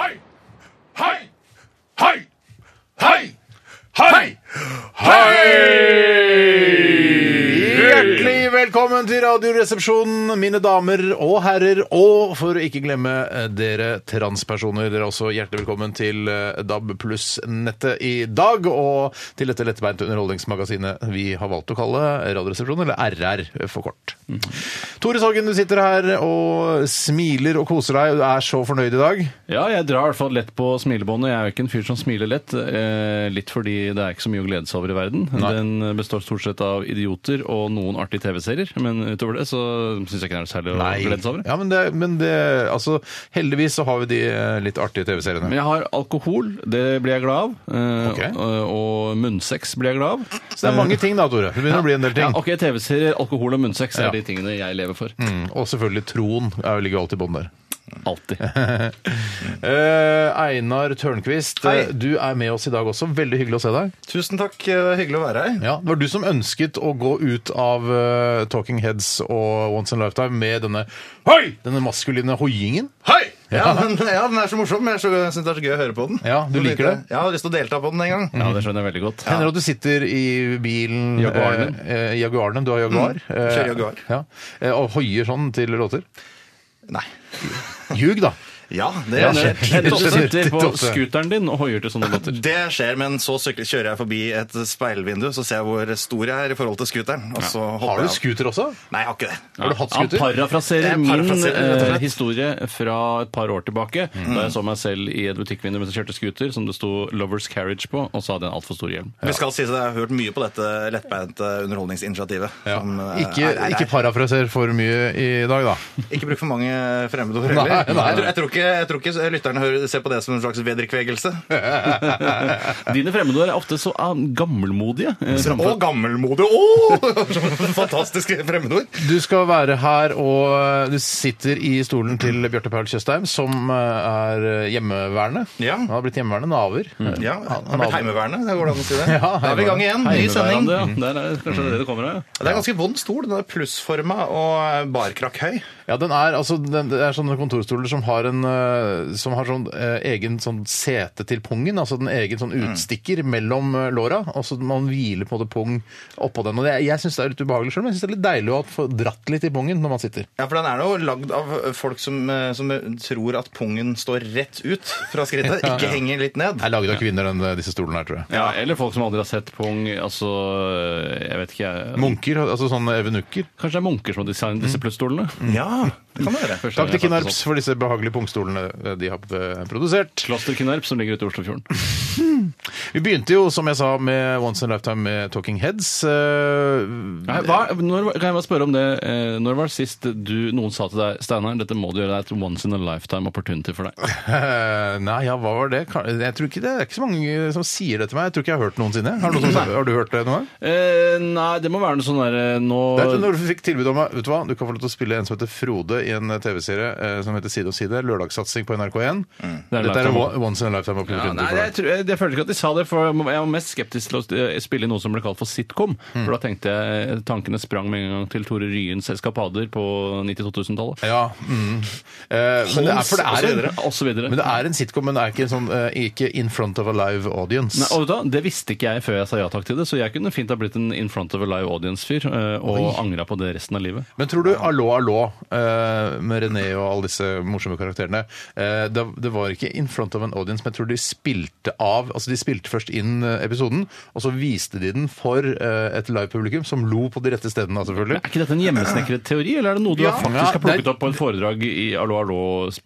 Hei! Hei! Hei! Hei! Hei! Hjertelig velkommen til Radioresepsjonen, mine damer og herrer. Og for å ikke glemme eh, dere transpersoner, dere er også hjertelig velkommen til eh, DAB pluss-nettet i dag. Og til dette lettbeinte underholdningsmagasinet vi har valgt å kalle Radioresepsjonen, eller RR for kort. Mhm. Tore Sagen, du sitter her og smiler og koser deg. Du er så fornøyd i dag. Ja, jeg drar i hvert fall lett på smilebåndet. Jeg er jo ikke en fyr som smiler lett. Eh, litt fordi det er ikke så mye å glede seg over i verden. Den består stort sett av idioter og noen artige TV-serier. Men utover det så syns jeg ikke det er noe særlig å glede seg over. Ja, men det, men det Altså, heldigvis så har vi de eh, litt artige TV-seriene. Men jeg har alkohol, det blir jeg glad av. Eh, Ok. og, og munnsex blir jeg glad av. Så det er mange ting da, Tore. Det begynner å bli en del ting. Ja, ok, TV-serier, alkohol og munnsex er Ja. de tingene jeg lever for. Mm, Og selvfølgelig troen er jo ligger jo alltid i bånn der. Alltid. Eh, Einar Tørnquist, Hei. eh, du er med oss i dag også. Veldig hyggelig å se deg. Tusen takk, det er hyggelig å være her. Ja, det var du som ønsket å gå ut av eh, Talking Heads og Once in a Lifetime med denne, Hei! denne maskuline hoiingen. Hei! Ja, men, ja, den er så morsom. Jeg er så- jeg syns det er så gøy å høre på den. Ja, du Så liker tenkte det? jeg- Ja, jeg har lyst til å delta på den en gang. Ja, det skjønner jeg veldig godt. Hender det at du sitter i bilen Jaguaren. eh, eh, Jaguaren, du har Jaguar. Mm. kjører eh, Jaguar. Ja, eh, og hoier sånn til låter. Nei. Ljug, da! Ja, det skjer. Hender det at du sitter på Totte. scooteren din og hoier til sånne låter? Det skjer, men så sykler, kjører jeg forbi et speilvindu, så ser jeg hvor stor jeg er i forhold til scooteren. Og så hopper Har du jeg av. scooter også? Nei, jeg har ikke det. Har du hatt Han scooter? parafraserer Jeg min parafraserer, rett og eh, slett. historie fra et par år tilbake, Mm. da jeg så meg selv i et butikkvindu mens jeg kjørte scooter, som det sto 'Lovers Carriage' på, og så hadde jeg en altfor stor hjelm. Vi skal si at jeg har hørt mye på dette lettbeinte underholdningsinitiativet. Ja. som, eh, Ikke, er- er- ikke parafraser for mye i dag, da. Ikke bruk for mange fremmedord Nei, nei. heller. Jeg, tror- jeg, tror ikke- jeg tror ikke lytterne hører, ser på det som en slags vederkvegelse. Dine fremmedord er ofte så ah, gammelmodige. eh, Og gammelmodig. Å! Fantastiske fremmedord. Du skal være her, og eh, du sitter i stolen til Bjarte Paul Tjøstheim, som eh, er hjemmeværende. Ja. Han har blitt hjemmeværende naver. Ja, Han- han har blitt naver. heimeværende. Det går det an å si det. Ja, da er vi i gang igjen. Ny sending. Heimeværende, Eh, ja. Mm. Der er kanskje det det kommer av. Ja, Det er en ganske vond stol. Den er plussforma og eh, barkrakk høy. Ja, den er, altså, den, det er sånne kontorstoler som har en eh, som har sånn eh, egen sånn sete til pungen, altså den egen sånn utstikker mellom eh, låra, og så man hviler på en måte pung oppå den. Og det, jeg syns det er litt ubehagelig sjøl, men jeg syns det er litt deilig å ha få dratt litt i pungen når man sitter. Ja, For den er jo lagd av folk som, eh, som tror at pungen står rett ut fra skrittet, ikke henger litt ned. Jeg er laget av kvinner, den, eh, disse stolene her, tror jeg. Ja, eller folk som aldri har sett pung. Altså, jeg vet ikke jeg. Munker, altså sånne evenukker. Kanskje det er munker som har designet disse plusstolene? Ja, det kan det være. Først Mm. Takk er til jeg faktisk Kinnarps for disse behagelige pungstolene de har eh, produsert. sånn. Kloster Kinnarp, som ligger ute i Oslofjorden. Vi begynte jo, som jeg sa, med Once in a Lifetime med Talking Heads. Eh, Nei, hva, når, kan jeg bare spørre om det? eh, Når var det sist du, noen sa til deg Steinar, dette må du gjøre, det er et once in a lifetime opportunity for deg? eh, nei, ja, hva var det? Kan- Jeg tror ikke det, det er ikke så mange som sier det til meg. Jeg tror ikke jeg har hørt det noensinne. Har, du noen som, har du hørt det noen gang? Eh, nei, det må være noe sånn derre nå Det er når du fikk tilbud om vet du hva, du kan få lov til å spille en som heter Frode i en TV-serie eh, som heter Side om side, lørdagssatsing på NRK1. Mm. Det er Dette er en lifetime. once in a lifetime ja, opportunity. nei, for jeg, deg. tror, jeg, jeg føler ikke at de sa det, for jeg må- jeg var mest skeptisk til å eh, spille i noe som ble kalt for sitcom. For da tenkte jeg tankene sprang med en gang til Tore Ryens Eskapader på 92.000-tallet. ja, mm. Eh, men det er, for det og så er videre, en, og så videre. men det er en sitcom, men det er ikke, en sånn, eh, ikke in front of a live audience. Nei, og vet du hva? det visste ikke jeg før jeg sa ja takk til det, så jeg kunne fint ha blitt en in front of a live audience-fyr eh, og angra på det resten av livet. Men tror du Allo Allo eh, med René og alle disse morsomme karakterene eh, det, det var ikke in front of an audience, men jeg tror de spilte av Altså de spilte først inn eh, episoden, og så viste de den for eh, et live-publikum som lo på de rette stedene, da, selvfølgelig. Er ikke dette en hjemmesnekret teori, eller er det noe du Ja. har faktisk Ja, har det plukket opp på et foredrag i Allo Allo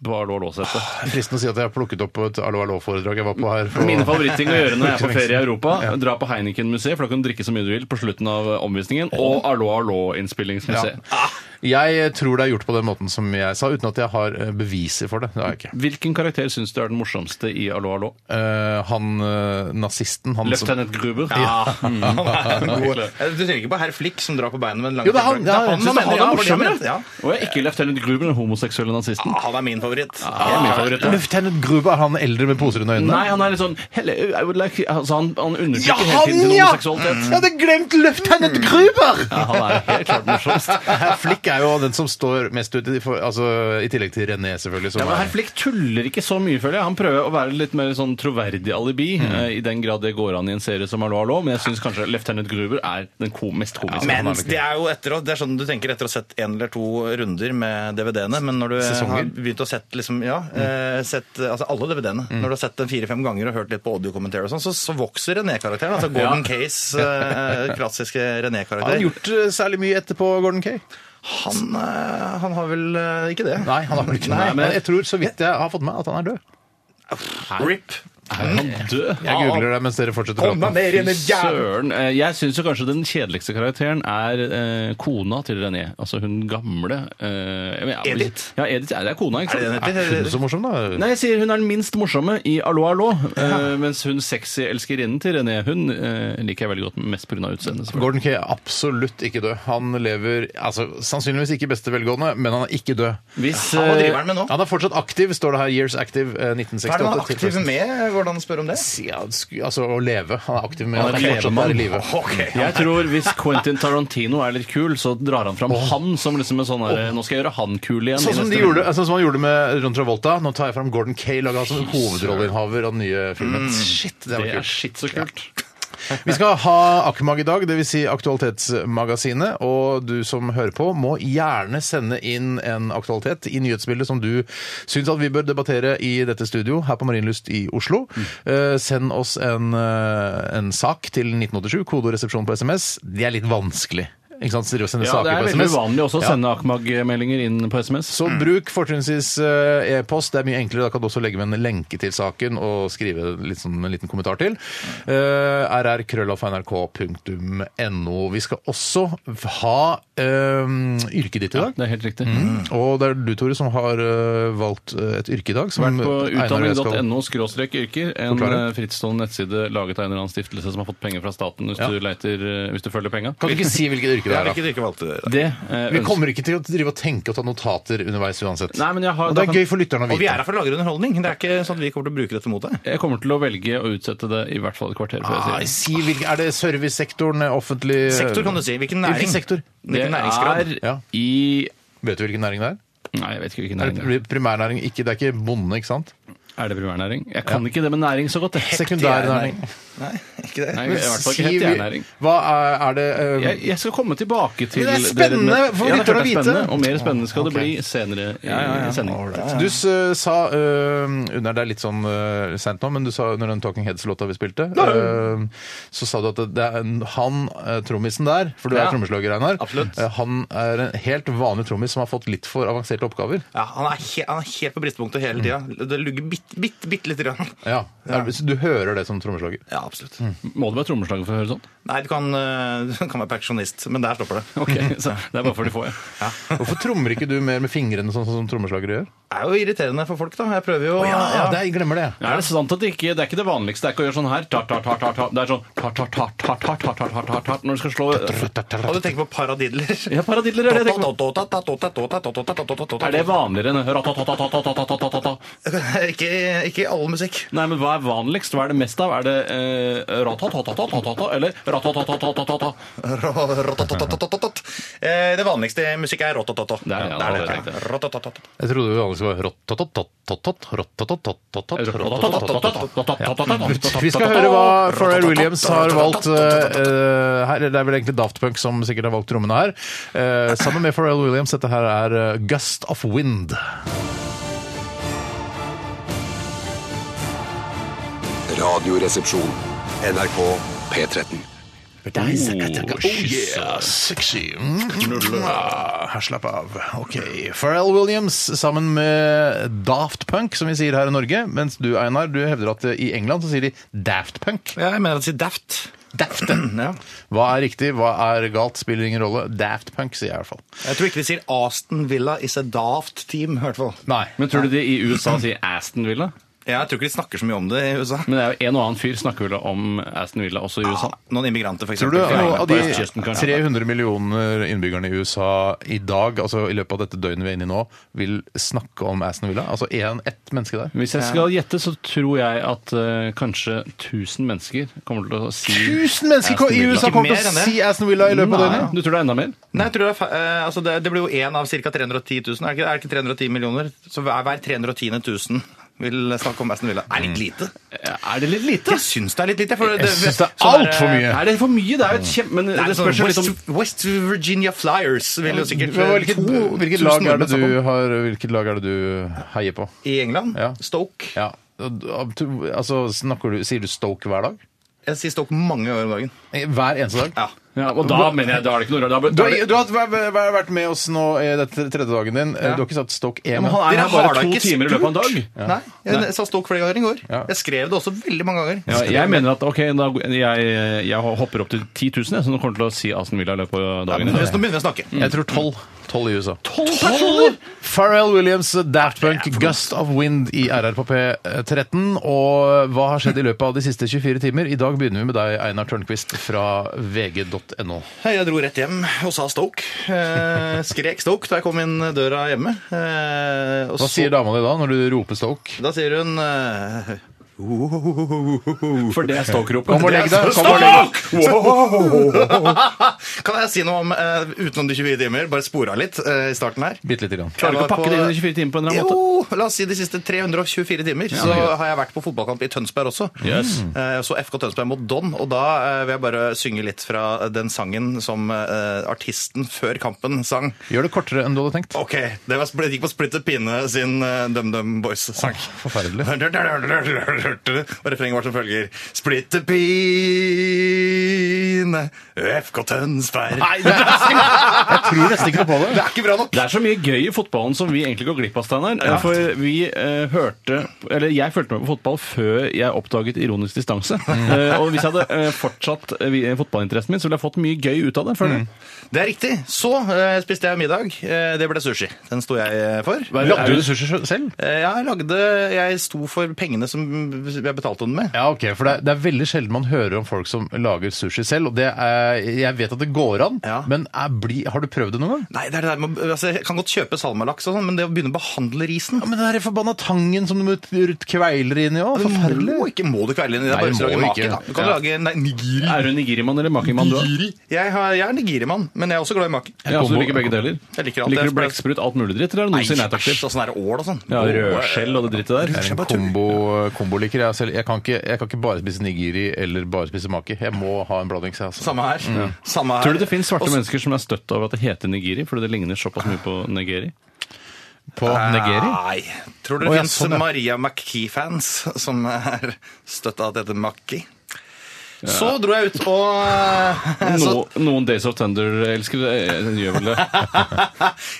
på Allo Allo-settet? Det er Fristende å si at jeg har plukket opp på et Allo Allo-foredrag jeg var på her. for- Mine favorittting å gjøre når jeg er på Ikke ferie i lenge Europa, dra på Heineken-museet, for da kan du drikke så mye du vil på slutten av eh, omvisningen, og Allo Allo-innspillingsmuseet. Ja. Jeg tror det er gjort på den måten som jeg sa, uten at jeg har eh, beviser for det. Det har jeg ikke. Hvilken karakter syns du er den morsomste i Allo Allo? Eh, han eh, nazisten han som- Løftenet Gruber? Ja, han er en god. Eh, virkelig. Du tenker ikke på herr Flick som drar på beina med en lang Jo, det er han- tilbake. det er han. Synes du mener, han ja, er for det morsommere? mener jeg. Og jeg er ikke løftenet Gruber, den homoseksuelle nazisten. Ja, han er min favoritt. Det er min favoritt, ja. Ah, Lieutenant Gruber, er han eldre med poser under øynene? Nei, han er litt sånn hele, I would like, altså Han, han undertrykker Ja, hele han, tiden sin ja! Mm. homoseksualitet. Jeg hadde glemt Lieutenant Gruber! Ja, han er helt klart morsomst. Herr Flick Mm. er jo den som står mest ut, i- for, altså, i tillegg til René, selvfølgelig. Som Ja, men Herr er. Flick tuller ikke så mye, føler jeg. Han prøver å være litt mer sånn troverdig alibi, Mm. eh, i den grad det går an i en serie som Hallo, hallo, men jeg syns kanskje Lieutenant Gruber er den ko mest komiske. Men Han er nok- det er jo etter å, det er sånn du tenker etter å ha sett en eller to runder med DVD-ene. Men når du har begynt å sett liksom, ja, eh, sett, altså alle DVD-ene, når du har sett den fire-fem ganger og hørt litt på audiokommentarer, og sånn, så, så vokser René-karakteren. altså Gordon Case, eh, klassiske Har han René-karakter. gjort eh, særlig mye etterpå Gordon Kay? Han, eh, han har vel eh, ikke det? Nei, han har vel ikke Nei, men- men jeg tror så vidt jeg har fått med at han er død. Rip. Er han død? Jeg googler det mens dere fortsetter Kom deg praten. ned i den Fy jævla Søren. Eh, Jeg syns jo kanskje den kjedeligste karakteren er eh, kona til René. Altså hun gamle eh, jeg mener- Edith? Ja, Edith er det er kona, ikke Er det den sant? heter? Er hun så morsom, da? Nei, jeg sier hun er den minst morsomme i Allo Allo, eh, mens hun sexy elskerinnen til René, hun eh, liker jeg veldig godt mest pga. utseendet. selvfølgelig. Gordon Kay er absolutt ikke død. Han lever altså, sannsynligvis ikke i beste velgående, men han er ikke død. Hvis, Hva driver eh, han med nå? Han er fortsatt aktiv, står det her. Years Active eh, Hva er det man 1968. er aktiv med? Går det an å spørre om det? Ja, sku- altså å leve. Han er aktiv med Han er han er fortsatt levemann. der i live. jeg tror Hvis Quentin Tarantino er litt kul, så drar han fram han som liksom en sånn herre Nå skal jeg gjøre han kul igjen. Sånn i som, de neste gjorde, runde." sånn som han gjorde med Ron Travolta. Nå tar jeg fram Gordon Kay, laga som hovedrolleinnehaver av den nye filmen. Shit, det var Mm. Det er kult. shit så kult. Vi skal ha Akmag i dag, dvs. Si Aktualitetsmagasinet. Og du som hører på, må gjerne sende inn en aktualitet i nyhetsbildet som du syns at vi bør debattere i dette studio her på Marienlyst i Oslo. Mm. Eh, send oss en, eh, en sak til 1987, kodoresepsjon på SMS. Det er litt vanskelig. Ikke sant? Seriøst, sende Ja, saker det er på veldig SMS. uvanlig også å Ja. sende Akmag-meldinger inn på SMS. Så bruk fortrinnsvis eh, e-post. Det er mye enklere. Da kan du også legge med en lenke til saken og skrive litt sånn, en liten kommentar til. Uh, rrkrøllalfa.nrk.no. Vi skal også ha eh, yrket ditt i dag. Det er helt riktig. Og det er du, Tore, som har eh, valgt eh, et yrke i dag. Som Vært på Einar og jeg skal- utdanning.no skråstrek yrker, en Forklare. eh, frittstående nettside laget av en eller annen stiftelse som har fått penger fra staten, hvis, Ja. du, leiter, eh, hvis du følger penga. Kan du ikke si hvilket yrke det er? da? Hvilket yrke valgte dere? Det eh, Vi ønsker- kommer ikke til å drive og tenke og ta notater underveis uansett. Nei, men jeg har- og det da er kan- gøy for lytterne å Og vi er vite. her for å lagre underholdning. Det er ikke sånn at vi kommer til å bruke dette mot deg. Jeg kommer til å velge å utsette det i hvert fall et kvarter før Ah, jeg sier det. si hvilke, er det servicesektoren, eh, offentlig Eh, Sektor kan du si. Hvilken næring? Hvilken sektor? Hvilken næringsgrad? Det Ja. er i Vet du hvilken næring det er? Nei, jeg vet ikke hvilken Er næring det er. det primærnæring? Ikke, det er ikke bonde, ikke sant? Er det primærnæring? Jeg kan ikke det med næring så godt. jeg. Sekundærnæring. Nei, ikke det. Nei, i hvert fall Si ikke vi- hekternæring. Hva er, er det eh, Jeg, jeg skal komme tilbake til Men det er spennende, med- for Ja, det lytterne å er vite. spennende, Og mer spennende skal Ok. det bli senere i, i sendingen. Du s- sa eh, under, Det er litt sånn uh, sent nå, men du sa under den Talking Heads-låta vi spilte, eh, så sa du at det er en, han eh, trommisen der, for du Ja. er trommeslager, Einar, Absolutt. eh, han er en helt vanlig trommis som har fått litt for avanserte oppgaver. Ja, han, er he han er helt på bristepunktet hele Mm. tida. Det lugger bitte bitt, bitt lite grann. Ja. Er, så du hører det som trommeslager? Ja, absolutt. Må du være trommeslager for å høre sånn? Nei, du kan, eh, du kan være pensjonist, men der stopper det. Ok, så Det er bare for de få, ja. Hvorfor trommer ikke du mer med fingrene, sånn som trommeslagere gjør? Det er jo irriterende for folk, da. Jeg prøver jo Ja, det er- jeg glemmer det. jeg. Er det sant at det ikke Det er ikke det vanligste. Det er ikke å gjøre sånn her. Tar, tar, tar, tar, tar. Det er sånn tar, tar, tar, tar, tar, tar, tar, tar, tar, tar, Når du skal slå Og du tenker på paradidler. Ja, paradidler er det jeg tenker på. Er det ikke, vanligere enn ratatatatatatatatatatata? ikke i all musikk. Nei, men hva er vanligst? Hva er det mest av? Er det eh, ratatatatata eller ratatatatata? Eh, Det vanligste i musikk er rotototo. Det er det, Det er det. det er det. Rotototo. Jeg trodde det vanligvis var rottatatattat, rottatatattat, rottatatattat. Vi skal høre hva Pharrell Williams har valgt eh, her. Det er vel egentlig Daft Punk som sikkert har valgt rommene her. Eh, sammen med Pharrell Williams, dette her er eh, Gust of Wind. Radioresepsjon. NRK P13. Sexy. Her, slapp av. Ok. Pharrell Williams sammen med Daft Punk, som vi sier her i Norge. Mens du, Einar, du hevder at eh, i England så sier de Daft Punk. Ja, Jeg mener at de sier daft. Dafte. Ja. Hva er riktig, hva er galt, spiller ingen rolle. Daft Punk, sier jeg i hvert fall. Jeg tror ikke de sier Aston Villa is a daft team, i hvert fall. Nei. Men tror du de i USA sier Aston Villa? Jeg tror ikke de snakker så mye om det i USA. Men det er jo en og annen fyr snakker vel om Aston Villa også i USA. Noen immigranter, for Sånn. Tror du eksempel. noe av på de østkysten, kanskje? 300 millioner innbyggerne i USA i dag, altså i løpet av dette døgnet vi er inne i nå, vil snakke om Aston Villa? Altså en, ett menneske der? Hvis jeg skal gjette, så tror jeg at eh, kanskje 1000 mennesker kommer til å si Tusen mennesker i USA Ikke kommer mer til å enn det. si Aston Villa i løpet av Nei, døgnet! du tror det er enda mer? Nei, jeg tror det, er, fa- eh, altså det, det blir jo én av ca. 310 000. Er det ikke, er det ikke 310 millioner? Så hver, hver 310. 000 vil snakke om Aston Villa. Er litt lite? Er det litt lite? Jeg syns det er litt lite. For det, Jeg syns det er sånn der, altfor mye! Er det for mye? Det er jo et kjempe... Men Nei, det sånn spørs jo litt West, om West Virginia Flyers vil jo sikkert eh, Men Hvilket, to- hvilket, tusen lag er det nordmenn snakke du om. har, hvilket lag er det du heier på? I England? Ja. Stoke. Ja. Altså, snakker du, sier du Stoke hver dag? Jeg sier Stoke mange ganger om dagen. Hver eneste dag? Ja. ja, Og da mener jeg, da er det ikke noe rart. Du, Da, har- da, du har vært- vært- vært med oss nå i dette tredje dagen din. Du har ikke satt Stoke EM? han er Dere her bare har da to ikke timer i løpet av en dag. Nei, jeg, sa Stoke flere ganger i går. Jeg skrev det også veldig mange ganger. Ja, jeg mener at ok, da, jeg, jeg hopper opp til 10 000, jeg, så nå kommer jeg til å si Aston Villa i løpet av dagen. Nå begynner vi å snakke. Jeg tror tolv. Tolv i USA. personer! Pharrell Williams, Daft Punk, Gust of Wind i RR på P13. Og hva har skjedd i løpet av de siste 24 timer? I dag begynner vi med deg, Einar Tørnquist fra vg.no. Hei, Jeg dro rett hjem og sa Stoke. Eh, skrek Stoke da jeg kom inn døra hjemme. Eh, og Hva så- sier dama di da når du roper Stoke? Da sier hun eh, For det er Stoke-ropet. Kom og legg deg! Kom og legg deg. Stoke! Kan jeg si noe om eh, utenom de 24 timer? Bare spora litt eh, i starten her. Bitte lite grann. Klarer du ikke å pakke det inn i 24 timer på en eller annen måte? Jo, la oss si de siste 324 timer. så har jeg vært på fotballkamp i Tønsberg også. Yes. Eh, Så FK Tønsberg mot Don, og da eh, vil jeg bare synge litt fra den sangen som eh, artisten før kampen sang. Gjør det kortere enn du hadde tenkt. Ok, det var, det gikk på Splitter Pinne sin eh, DumDum Boys-sang. Forferdelig. Og refrenget var som følger Splitter Pinne, FK Tønsberg Nei, det er nesten- Jeg tror nesten ikke noe på det. det er ikke bra nok! Det er så mye gøy i fotballen som vi egentlig går glipp av, Steinar. For vi eh, hørte Eller jeg fulgte med på fotball før jeg oppdaget ironisk distanse. Mm. Eh, og hvis jeg hadde eh, fortsatt eh, vi- fotballinteressen min, så ville jeg fått mye gøy ut av det. føler jeg. Det er riktig. Så eh, spiste jeg middag. Eh, det ble sushi. Den sto jeg eh, for. Lagde du ressurser selv? Eh, jeg lagde Jeg sto for pengene som jeg betalte den med. Ja, ok, for det er, det er veldig sjelden man hører om folk som lager sushi selv, og det er, jeg vet at det går an, Ja. men er, bli, har du prøvd det noen gang? Nei, det er det der med, å- altså, Jeg kan godt kjøpe salmalaks, og sånn, men det å begynne å behandle risen Ja, men den der forbanna tangen som du må ut- ut kveiler inn i òg, forferdelig. Må ikke, må du kvele inn i det. Nei, Bare hvis du må jo lager maki, ikke. da. Du kan Ja. lage nei, nigiri. Er du en nigirimann eller makimann, du òg? Jeg, har, jeg er nigirimann, men jeg er også glad i maki. Ja, så du liker begge deler? Jeg liker alt. liker du Jeg spør- blekksprut, alt mulig dritt, eller er det noe du sier nei takk æsj, til? og sånn der ål og sånn. Ja, Ål, Rødskjell og det drittet der. Jeg er en kombo, komboliker. Jeg, selv, jeg, kan ikke, jeg kan ikke bare spise nigiri eller bare spise maki. Jeg må ha en blandings. her, Altså. Samme her. Samme her. Tror du det finnes svarte Og så- mennesker som er støtt over at det heter Nigiri, fordi det ligner såpass mye på Nigeri? På Ah. nigeri? Nei. Tror du det Å, ja, finnes sånn, ja. Maria McKee-fans som er støtta av dette Mackie? Så dro jeg ut og Eh, så, No, noen Days of Thunder-elskere eh, gjør vel det.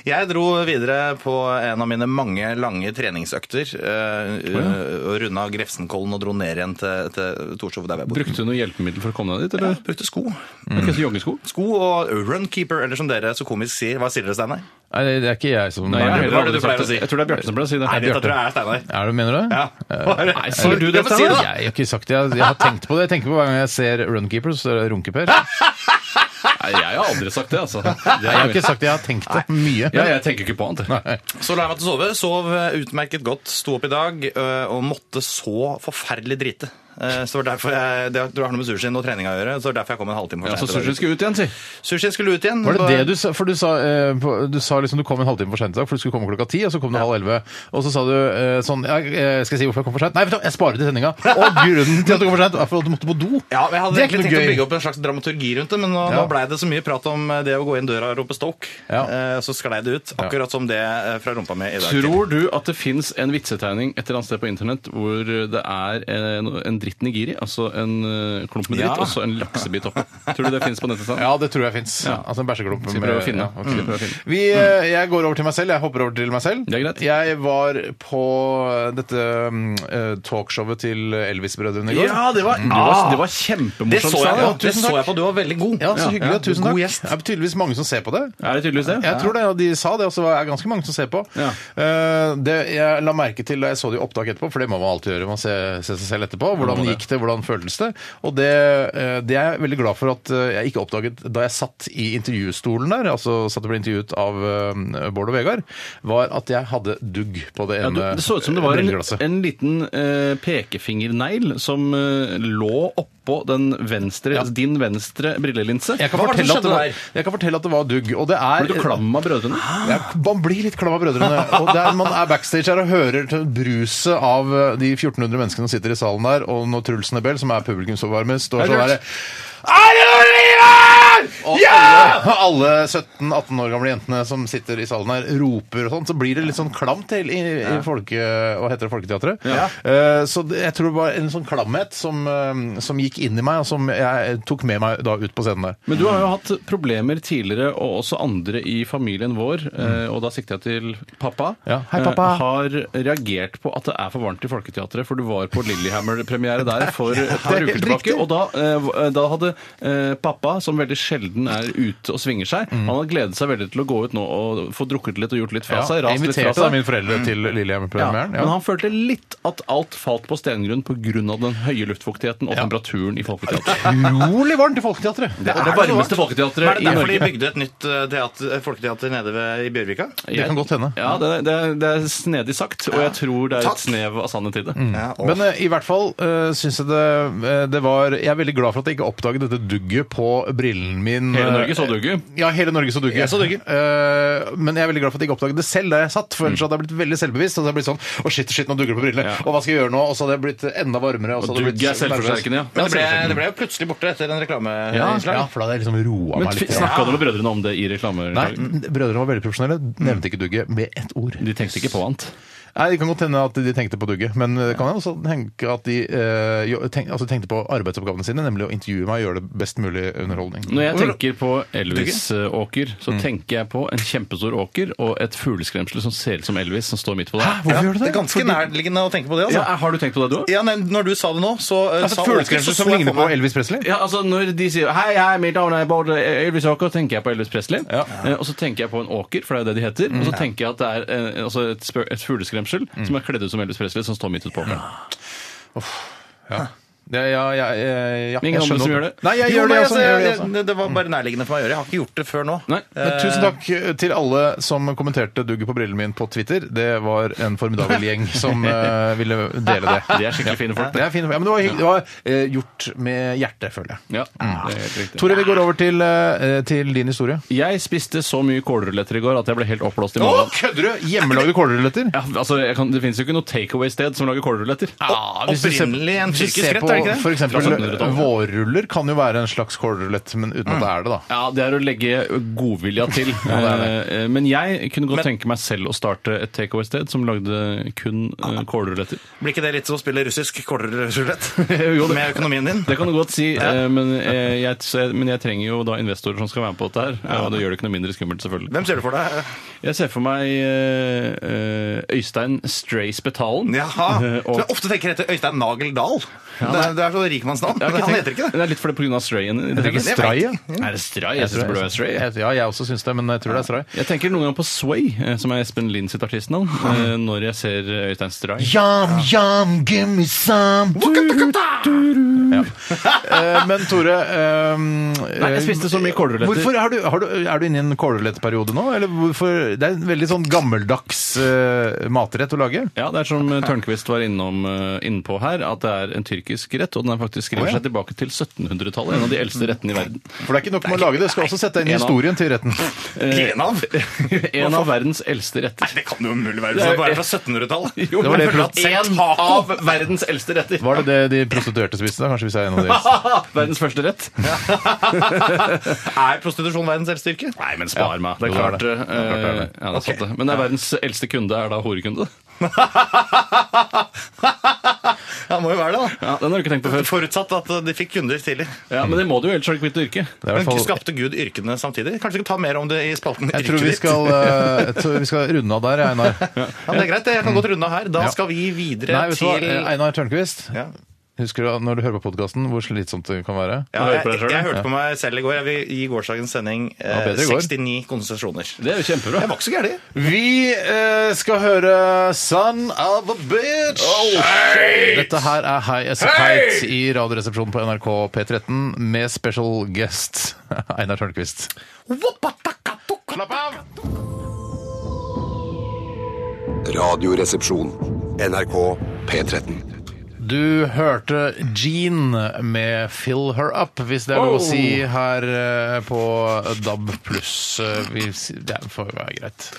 Jeg dro videre på en av mine mange lange treningsøkter. eh, eh, og Runda Grefsenkollen og dro ned igjen til, til Torshov, der hvor jeg bor. Brukte du noe hjelpemiddel for å komme deg dit, Ja, eller? brukte sko. Mm. Ikke så joggesko? Sko og runkeeper, eller som dere så komisk sier. Hva sier dere, Steinar? Nei, det er ikke jeg som Nei, jeg, det jeg, var det du pleier å si. jeg tror det er Bjarte som pleier å si det. Nei, dette Bjarte. tror jeg er Steinar. Er det, mener du? Ja. Nei, sier du det, Ja, men si det, Steinar? da. Jeg har ikke sagt det. Jeg, jeg har tenkt på det. Jeg tenker på hver gang jeg ser Runkeeper, så er det Runkeper. Nei, jeg har aldri sagt det, altså. Jeg har ikke sagt det. Jeg har tenkt det mye. Ja, jeg tenker ikke på annet. jeg. Så la jeg meg til å sove. Sov eh, utmerket godt. Sto opp i dag eh, og måtte så forferdelig drite. Eh, Så det var derfor jeg, det tror jeg har noe med sushien og treninga å gjøre. Så det var derfor jeg kom en halvtime Ja, for så sent. i sushien dag. Altså, skal ut igjen, si. Sushien skulle ut igjen. Var det det du sa? For du sa, eh, på- du sa liksom du kom en halvtime for sent i dag, for du skulle komme klokka ti, og så kom du halv elleve. Og så sa du eh, sånn ja, eh, Skal jeg si hvorfor jeg kom for sent? Nei, vet du, hva, jeg sparer til sendinga. Og grunnen til at du kom for sent, er for at du måtte på do. Ja, Det men Jeg hadde er egentlig ikke tenkt noe å gøy. bygge opp en slags dramaturgi rundt det, men nå, nå Ja. blei det så mye prat om eh, det å gå inn døra og rope Stoke. Ja. Eh, Så sklei det ut. Akkurat som det eh, fra rumpa mi i dag. Tror du at det fins en vitsetegning et eller annet sted på internett hvor det er en, en dritten i giri, altså en eh, klump med dritt, Ja. og så en laksebit oppå. Tror du det fins på nettet? Sand? Ja, det tror jeg fins. Altså en bæsjeklump. Skal vi prøve å finne? Ja, ok. Skal vi prøve å finne? Vi, Mm. eh, jeg går over til meg selv. Jeg hopper over til meg selv. Det er greit. Jeg var på dette mm, eh, talkshowet til Elvis-brødrene i går. det var, Mm, Det Ah. var, det var kjempemorsomt. Det så jeg Sand. på. Ja, Det tusen så takk. jeg på. Du var veldig god. Ja, så Ja, hyggelig. ja. Tusen takk. God gjest. Det er tydeligvis mange som ser på det. Er det tydeligvis det? Jeg tror det, og de sa det, og så er det ganske mange som ser på. Ja. Eh, Det jeg la merke til da jeg så det i opptak etterpå, for det må man alltid gjøre, man ser, ser seg selv etterpå, hvordan gikk det, hvordan føltes det, og det, eh, det er jeg veldig glad for at eh, jeg ikke oppdaget da jeg satt i intervjustolen der, altså satt og ble intervjuet av eh, Bård og Vegard, var at jeg hadde dugg på det Ja, du, ene det så ut som det var en, brilleglasset. en liten eh, pekefingernegl som eh, lå oppå den venstre, altså din venstre brillelinse. Jeg kan, Hva var det fortelle at som det skjedde var, jeg kan fortelle at det var dugg. Og det er, Ble du klam av brødrene? Ja, man blir litt klam av brødrene. Og der man er backstage her og hører til bruset av eh, de 1400 menneskene som sitter i salen der, og når Truls Nebel, som er publikumsoppvarmer, står sånn herre Er det noen liv her?! Ja! Alle 17-18 år gamle jentene som sitter i salen her, roper og sånn, så blir det litt sånn klamt til i, i folke... Hva heter det? Folketeatret? Eh, Så det- jeg tror det var en sånn klamhet som, eh, som gikk inn i meg, og som jeg tok med meg da ut på scenen der. Men du har jo hatt problemer tidligere, og også andre i familien vår, eh, og da sikter jeg til pappa, Ja, hei, pappa. eh, har reagert på at det er for varmt i Folketeatret, for du var på Lillehammer-premiere der for et par helt uker tilbake, riktig. og da, eh, v- da hadde eh, pappa, som veldig sjelden er ute og svinger seg, han hadde gledet seg veldig til å gå ut nå og få drukket litt og gjort litt fra seg, jeg rast litt fra inviterte seg. da mine foreldre til Ja, Lillehammer-premieren. Men han følte litt at alt falt på stengrunn pga. den høye luftfuktigheten og temperaturen i Folketeatret. utrolig varmt i Folketeatret. Det er det varmeste Er folketeatret det i derfor de Norge. bygde et nytt eh, teater, folketeater nede ved, i Bjørvika? Det kan godt hende. Ja, det, er- det, er- det er snedig sagt, og jeg tror det er et snev av sannhet i det. Ja, og- Men eh, i hvert fall uh, syns jeg det, eh, det var Jeg er veldig glad for at jeg ikke oppdaget dette dugget på brillen min. eh, Hele Norge så dugget. Ja, hele Norge så dugget. Jeg så dugget. Eh, men jeg er veldig glad for at jeg ikke oppdaget det selv der jeg satt, for ellers Mm. hadde jeg blitt veldig selvbevisst. Og så hadde jeg blitt sånn Å, shit, shit, nå dugger det på brillene. Og hva skal jeg gjøre nå? Og så hadde jeg blitt enda varmere. Og, så Og hadde jeg dugget er blitt nervøs. selvforsterkende, ja. Men det ble, det ble jo plutselig borte etter en Ja, reklameinnslag. ja, for da hadde jeg liksom roa Men meg litt. Snakka dere med brødrene om det i reklamer? Nei, brødrene var veldig profesjonelle. Nevnte ikke dugget med ett ord. De tenkte ikke på annet. Nei, Det kan godt hende at de tenkte på dugget, men det kan jeg også tenke at de eh, jo- tenk, altså tenkte på arbeidsoppgavene sine, nemlig å intervjue meg og gjøre det best mulig underholdning. altså, Når jeg tenker på Elvis-åker, Mm. så tenker jeg på en kjempestor åker og et fugleskremsel som ser ut som Elvis, som står midt på der. Hvorfor gjør du Det det? er ganske nærliggende å tenke på det, altså. Ja, har du tenkt på det, du òg? Ja, nei, når du sa det nå, så eh, altså, sa et fugleskremsel overskriften, så som jeg ligner for på meg- Elvis Presley? Ja, altså Når de sier 'hei, hei, mitt navn er Bård Elvis Åker', tenker jeg på Elvis Presley. Eh, og så tenker jeg på en åker, for det er jo det de heter. Og Mm. så tenker jeg at det er eh, altså et, spø- et fugleskremsel som er kledd ut som Elvis Presley, som står midt ute på åkeren. Ja. Ja, ja, ja, ja, ja, Men jeg ingen andre som skjønner. gjør det? Nei, jeg Jo, gjør det, nei, altså. altså, Jeg gjør det, jeg- altså. det, det var bare nærliggende for meg å gjøre. Jeg har ikke gjort det før nå. Nei. Men tusen takk eh, til alle som kommenterte dugget på brillen min på Twitter. Det var en formidabel gjeng som eh, ville dele det. De er skikkelig fine folk, Det er fine, ja, men det var, hygg- det var eh, gjort med hjertet, føler jeg. Ja, det er helt riktig. Tore, vi går over til, eh, til din historie. Jeg spiste så mye kålruletter i går at jeg ble helt oppblåst i magen. kødder du? Hjemmelagde kålruletter? Ja, altså, jeg kan, det fins jo ikke noe takeaway-sted som lager kålruletter. Ja, hvis du ser- Opprinnelig en hvis du tyrkisk ser rett, på er det ikke det? For eksempel Fra 1700-tallet. vårruller kan jo være en slags kålrulett, men uten at det er det, da. Ja, Det er å legge godvilja til. Eh, Men jeg kunne godt tenke meg selv å starte et takeaway-sted som lagde kun eh, kålruletter. Blir ikke det litt som å spille russisk kortrulett? Jo, det- Med økonomien din? Det kan du godt si, eh, men, eh, jeg, så- men jeg trenger jo da investorer som skal være med på dette her. Og det gjør det ikke noe mindre skummelt, selvfølgelig. Hvem ser du for deg? Jeg ser for meg eh, eh, Øystein Stray Spetalen. Jaha. Eh, og- Som jeg ofte tenker heter Øystein Nagel Dahl. det, er, det er så rikmannsnavn. Jeg har Men ikke han tenkt- heter ikke det. Det er litt fordi pga. Strayen. Det tenker er Stray, ja. Er det Stray? Jeg synes det burde være Stray. jeg. Jeg- Ja, jeg også syns det, men jeg tror det er stray. Jeg tenker noen ganger på Sway, eh, som er Espen Lind sitt artistnavn, eh, når jeg ser eh, Øystein Stray. Yum, yum, give me some Eh, Men Tore ehm, eh, Nei, jeg spiste så mye kålruletter. Hvorfor har du, har du, Er du inne i en kålrulettperiode nå? Eller hvorfor, det er en veldig sånn gammeldags eh, matrett å lage. Ja, det er som eh, Tørnquist var innom, eh, innpå her, at det er en tyrkisk rett, og den er faktisk skriver Å, ja. seg tilbake til 1700-tallet, en av de eldste rettene i verden. For det er ikke nok med å lage det, du skal også sette deg inn i En av- historien til retten. En av? En av verdens eldste retter. Det kan jo umulig være. Det Det er- er bare fra 1700-tallet. Jo, Det var det men jeg prøvde å si. en av verdens eldste retter. Var det det de prostituerte spiste? da? Kanskje hvis jeg er en av deres. Verdens første rett. Er prostitusjon verdens eldste yrke? Nei, men spar meg. Det er Jo, klart det det. er det. Det er klart Eh, Ja, det er det. det er sant det. Men det er verdens eldste kunde er da horekunde. Ja, må jo være det, da. Ja, den har du ikke tenkt på før. Forutsatt at de fikk kunder tidlig. Ja, Men det må du jo, ellers har du kvittet yrket. Det er i hvert Men fall- skapte Gud yrkene samtidig? Kanskje vi kan ta mer om det i spalten Jeg tror, vi Yrket ditt? skal, eh, jeg tror vi skal runde av der, Einar. Ja, men det er greit, jeg kan godt runde av her. Da Ja. skal vi videre Nei, vet du hva? til Eh, Einar Tørnquist. Ja. Husker du når du hører på podkasten, hvor slitsomt det kan være? Ja, Du hører jeg, på deg jeg, selv, ja. hørte på meg selv i går. Jeg vil gi gårsdagens sending eh, bedre i går. 69 konsesjoner. Det er jo kjempebra. Jeg var ikke så gæren. Vi eh, skal høre 'Son of a Bitch'. Oh, Dette her er High As A Kite i Radioresepsjonen på NRK P13 med special guest Einar Tørnquist. Slapp av! Radioresepsjon. NRK P13. Du hørte Jean med 'Fill Her Up', hvis det er Oh. lov å si her eh, på DAB pluss. Det får være greit.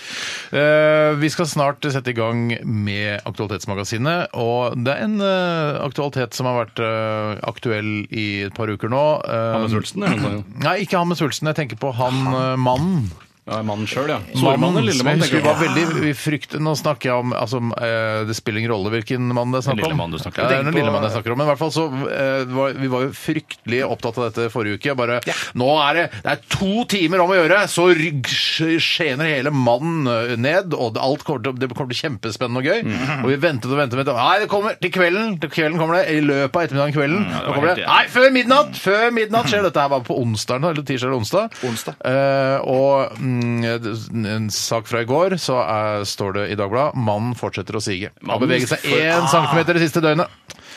Eh, Vi skal snart sette i gang med Aktualitetsmagasinet. Og det er en eh, aktualitet som har vært eh, aktuell i et par uker nå. Eh, Med svulsten, ja. altså. Nei, ikke han med svulsten. Jeg tenker på han eh, mannen. ja mannen sjøl, ja. Stormann eller som jeg lillemann, husker tenker var jeg. veldig frykt... Nå snakker jeg om altså, eh, Det spiller ingen rolle hvilken mann det er snakk om. Den lille mannen du snakker om. Ja, det er den Tenk på- lille mannen jeg snakker om. Men i hvert fall så eh, var, Vi var jo fryktelig opptatt av dette forrige uke. Jeg bare Nå er det Det er to timer om å gjøre, så rygg- sk- skjener hele mannen eh, ned, og det- alt kommer til, å- det kommer til å bli kjempespennende og gøy. Mhm. Og vi ventet og ventet. og ventet. Nei, det kommer til kvelden. Til kvelden kommer det. I løpet av ettermiddagen kvelden. Mm, Nå det var kommer helt det. jævlig. Nei, før midnatt! Før midnatt skjer dette her bare på onsdag eller tirsdag eller onsdag. Onsdag. Eh, og mm, det- en sak fra i går, så er, står det i Dagbladet mannen fortsetter å sige. Han Mannen beveget seg for- Ah. én centimeter det siste døgnet.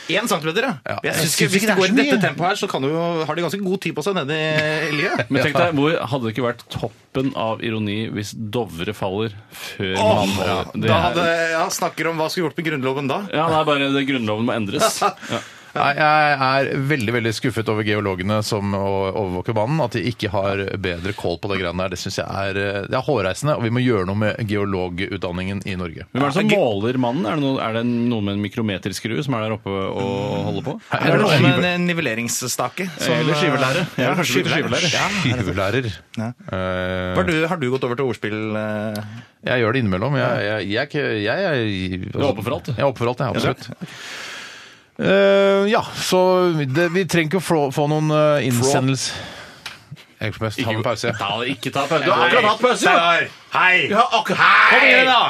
Én centimeter, ja. jeg Jeg synes synes ikke, ikke hvis det det går er i så dette mye. tempoet her, så kan du jo, har de ganske god tid på seg nede i livet. Men tenk deg, hvor Hadde det ikke vært toppen av ironi hvis Dovre faller før mannen faller? Det Da er- hadde, ja, snakker om hva skulle gjort med Grunnloven da. Ja, det er bare det, Grunnloven må endres. Ja. Nei, jeg er veldig veldig skuffet over geologene som å- overvåker banen. At de ikke har bedre kål på det greiene der. Det syns jeg er, eh, det er hårreisende, og vi må gjøre noe med geologutdanningen i Norge. Hvem er det som måler mannen? Er det, noe, er det noen med en mikrometerskrue som er der oppe Mm. og holder på? Det er det noe skive- med en nivelleringsstake. som- eh, Eller skivelære. Ja, Ja, kanskje det er skivelære. skivelære. Ja. Skivelærer. Ja. Eh, Har, du, har du gått over til ordspill? eh? jeg gjør det innimellom. Jeg, jeg, jeg, er ikke- jeg, jeg, altså, Du er åpen for alt, du. Jeg er åpen for alt, jeg, absolutt. Eh, ja, så det, vi trenger ikke å få, få noen eh, innsendelser. Jeg får ta en pause. jeg. Ta, ikke ta pause. Steinar! Hei! Kom igjen, da!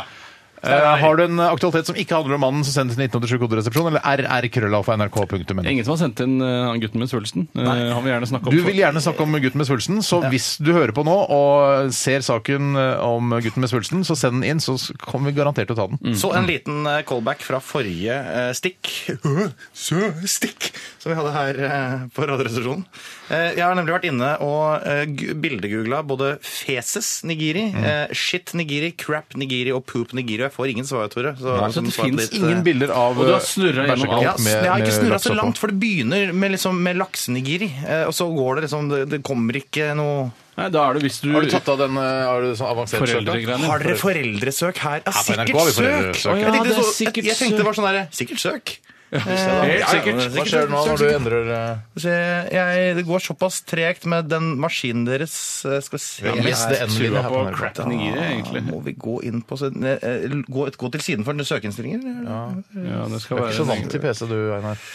Eh, har du en aktualitet som ikke handler om mannen, så send det til 1987 koderesepsjon eller rrkrøllalfa.nrk.no. Ingen som har sendt inn eh, han gutten med svulsten. Eh, Han vil gjerne snakke om Du vil gjerne snakke om gutten med svulsten, så hvis du hører på nå og ser saken eh, om gutten med svulsten, så send den inn, så kommer vi garantert til å ta den. Så en liten eh, callback fra forrige eh, stikk. Øh, Sø, stikk! Som vi hadde her eh, på Radioresepsjonen. Eh, Jeg har nemlig vært inne og eh, gu- bildegoogla både feses nigiri, eh, shit nigiri, crap nigiri og poop nigiri. Jeg får ingen svar, Tore. Så, Nei, så det som svarte finnes litt, eh, Ingen bilder av Og du har snurret eh, gjennom bæsjekant ja, med- jeg har ikke med snurra laks så oppå. langt, for det begynner med, liksom, med laksenigiri. eh, Og så går det liksom Det, det kommer ikke noe Nei, da er det hvis du Har du tatt av den eh, har du sånn avansert søk, da? foreldregreiene. Har dere foreldresøk her? Ja, på sikkert NRK har vi søk! foreldresøk, ja. Jeg tenkte Ja, det er så- sikkert jeg tenkte søk. det var sånn derre Sikkert søk! Helt sikkert. Hva skjer nå når du endrer eh, Så jeg, jeg, det går såpass tregt med den maskinen deres. eh, Skal vi se Ja, mest det her. endelige her på NRK. crap nigiri, Da egentlig. må vi gå inn på siden- eh, eh, gå, gå til siden for søkeinnstillinger? eller? Ja, Du det skal er ikke være så vant til PC, du, Einar.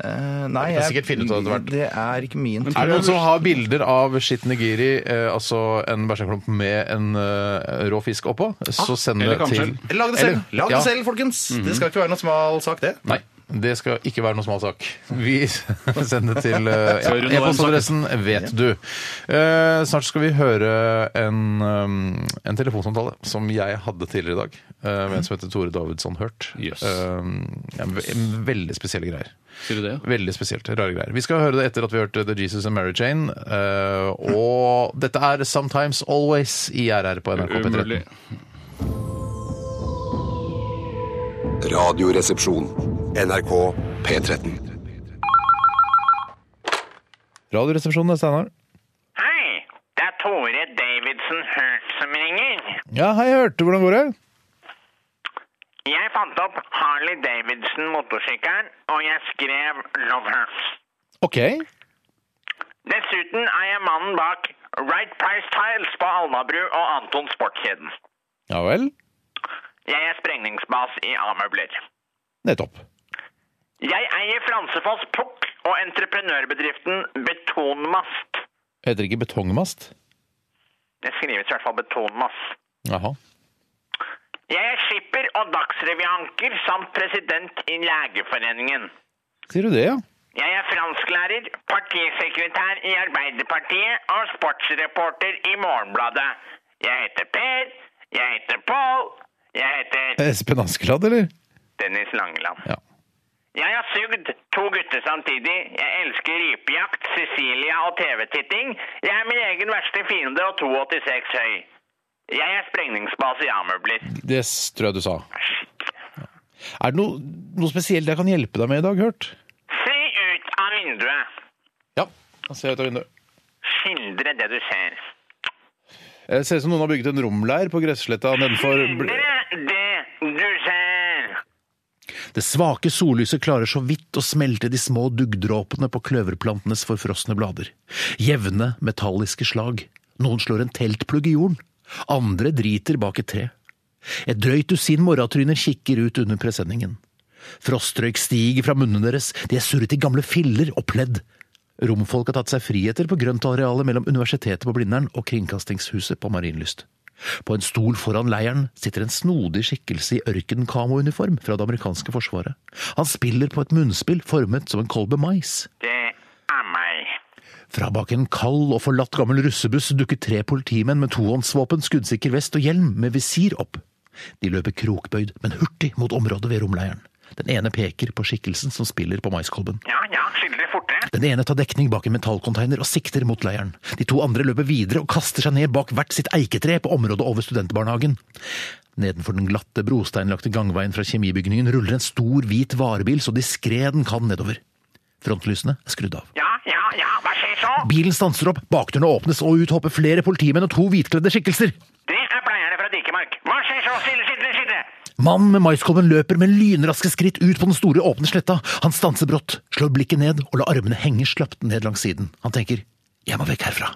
Eh, nei, kan sikkert finne ut av det etter hvert. Det er ikke min tur. Er det noen som har bilder av shit nigiri, eh, altså en bæsjeklump med en eh, rå fisk oppå, Ah, så send eller det til kamskjell. Lag det selv, Eller- Lag det ja. Mhm. selv folkens! Det skal ikke være noen smal sak, det. Nei. Det skal ikke være noen smal sak. Vi sender det til eh, Skal vi runde ja, av den e-postadressen vet du. Eh, snart skal vi høre en, um, en telefonsamtale som jeg hadde tidligere i dag, eh, med en som heter Tore Davidsson Hurt. Jøss. Eh, ja, ve- veldig spesielle greier. Sier du det? ja? Veldig spesielt. Rare greier. Vi skal høre det etter at vi hørte The Jesus and Mary Chain. eh, og dette er Sometimes Always i RR på NRK P13. Umulig. Radioresepsjon. NRK P13. Radioresepsjonen, det er Steinar. Hei, det er Tore Davidson Hurt som ringer. Ja, hei, hørte. Hvordan går det? Jeg fant opp Harley Davidson motorsykkelen, og jeg skrev Love Her. OK. Dessuten er jeg mannen bak Right Price Tiles på Alnabru og Anton Sportskjeden. Ja vel. Jeg er sprengningsbas i A-møbler. Nettopp. Jeg eier Fransefoss Pukk og entreprenørbedriften Betonmast. Heter det ikke betongmast? Det skrives i hvert fall Betonmast. Jaha. Jeg er skipper og dagsrevyanker samt president i Legeforeningen. Sier du det, ja? Jeg er fransklærer, partisekretær i Arbeiderpartiet og sportsreporter i Morgenbladet. Jeg heter Per, jeg heter Pål, jeg heter Espen Askeladd, eller? Dennis Langeland. Ja. Jeg har sugd to gutter samtidig. Jeg elsker rypejakt, Cecilia og TV-titting. Jeg er min egen verste fiende og 286 høy. Jeg er sprengningsbase i A-møbler. Det tror jeg du sa. Er det noe, noe spesielt jeg kan hjelpe deg med i dag, hørt? Se ut av vinduet. Ja. Jeg ser ut av vinduet. Skildre det du ser. Jeg Eh, ser ut som noen har bygget en romleir på gressletta nedenfor Bl- Skildre det du ser. Det svake sollyset klarer så vidt å smelte de små duggdråpene på kløverplantenes forfrosne blader. Jevne, metalliske slag. Noen slår en teltplugg i jorden. Andre driter bak et tre. Et drøyt dusin morratryner kikker ut under presenningen. Frostrøyk stiger fra munnene deres, de er surret i gamle filler og pledd. Romfolk har tatt seg friheter på grøntarealet mellom Universitetet på Blindern og Kringkastingshuset på Marienlyst. På en stol foran leiren sitter en snodig skikkelse i ørkenkamo-uniform fra det amerikanske forsvaret. Han spiller på et munnspill formet som en kolbe mais. Det er meg. Fra bak en kald og forlatt gammel russebuss dukker tre politimenn med tohåndsvåpen, skuddsikker vest og hjelm med visir opp. De løper krokbøyd, men hurtig mot området ved romleiren. Den ene peker på skikkelsen som spiller på maiskolben. Ja, ja, skildre fortere. Den ene tar dekning bak en metallcontainer og sikter mot leiren. De to andre løper videre og kaster seg ned bak hvert sitt eiketre på området over studentbarnehagen. Nedenfor den glatte, brosteinlagte gangveien fra kjemibygningen ruller en stor, hvit varebil så diskré den kan nedover. Frontlysene er skrudd av. Ja, ja, ja, hva skjer så? Bilen stanser opp, bakdørene åpnes, og ut hopper flere politimenn og to hvitkledde skikkelser. Det er pleierne fra Dikemark. Hva skjer så? Stille, stille, stille! Mannen med maiskolben løper med lynraske skritt ut på den store, åpne sletta. Han stanser brått, slår blikket ned og lar armene henge slapt ned langs siden. Han tenker 'jeg må vekk herfra'.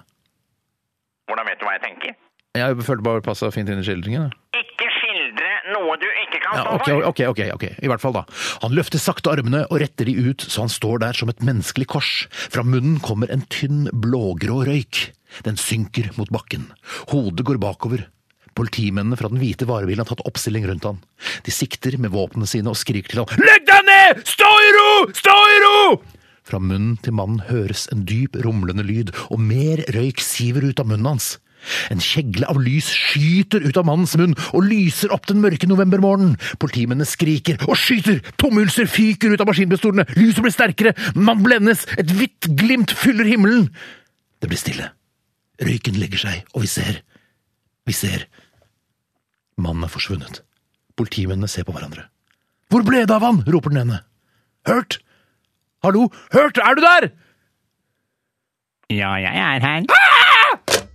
Hvordan vet du hva jeg tenker? Jeg følte bare passa fint inn i skildringen. Ikke skildre noe du ikke kan Ja, stå ok, for. ok, ok, ok, i hvert fall da. Han løfter sakte armene og retter de ut, så han står der som et menneskelig kors. Fra munnen kommer en tynn, blågrå røyk. Den synker mot bakken. Hodet går bakover. Politimennene fra den hvite varebilen har tatt oppstilling rundt han. De sikter med våpnene sine og skriker til han. Legg deg ned! Stå i ro! Stå i ro! Fra munnen til mannen høres en dyp, rumlende lyd, og mer røyk siver ut av munnen hans. En kjegle av lys skyter ut av mannens munn og lyser opp den mørke novembermorgenen. Politimennene skriker og skyter, tomhylser fyker ut av maskinpistolene, lyset blir sterkere, man blendes, et hvitt glimt fyller himmelen. Det blir stille. Røyken legger seg, og vi ser. Vi ser. Mannen er forsvunnet. Politimennene ser på hverandre. Hvor ble det av han? roper den ene. Hørt? Hallo, hørt, er du der? Ja, jeg er her.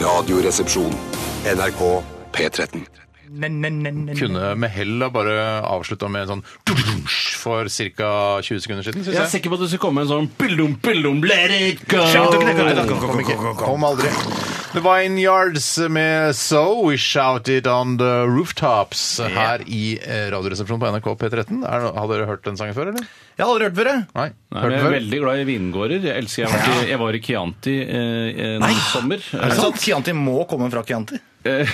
Radioresepsjon. NRK P13. kunne med hell da bare avslutta med en sånn for ca. 20 sekunder siden, Jeg er syns jeg. sikker på at det skal komme en sånn bildum, bildum, let it go! Kom aldri. The Vineyards med So We Shouted On The Rooftops her i eh, Radioresepsjonen på NRK P13. Er det no- Har dere hørt den sangen før, eller? Jeg har aldri hørt før, jeg. Nei? Hørt Nei, men den jeg er før? veldig glad i vingårder. Jeg elsker Jeg, har vært i, jeg var i Chianti eh, en sommer. Er det sant? Chianti må komme fra Chianti. Eh,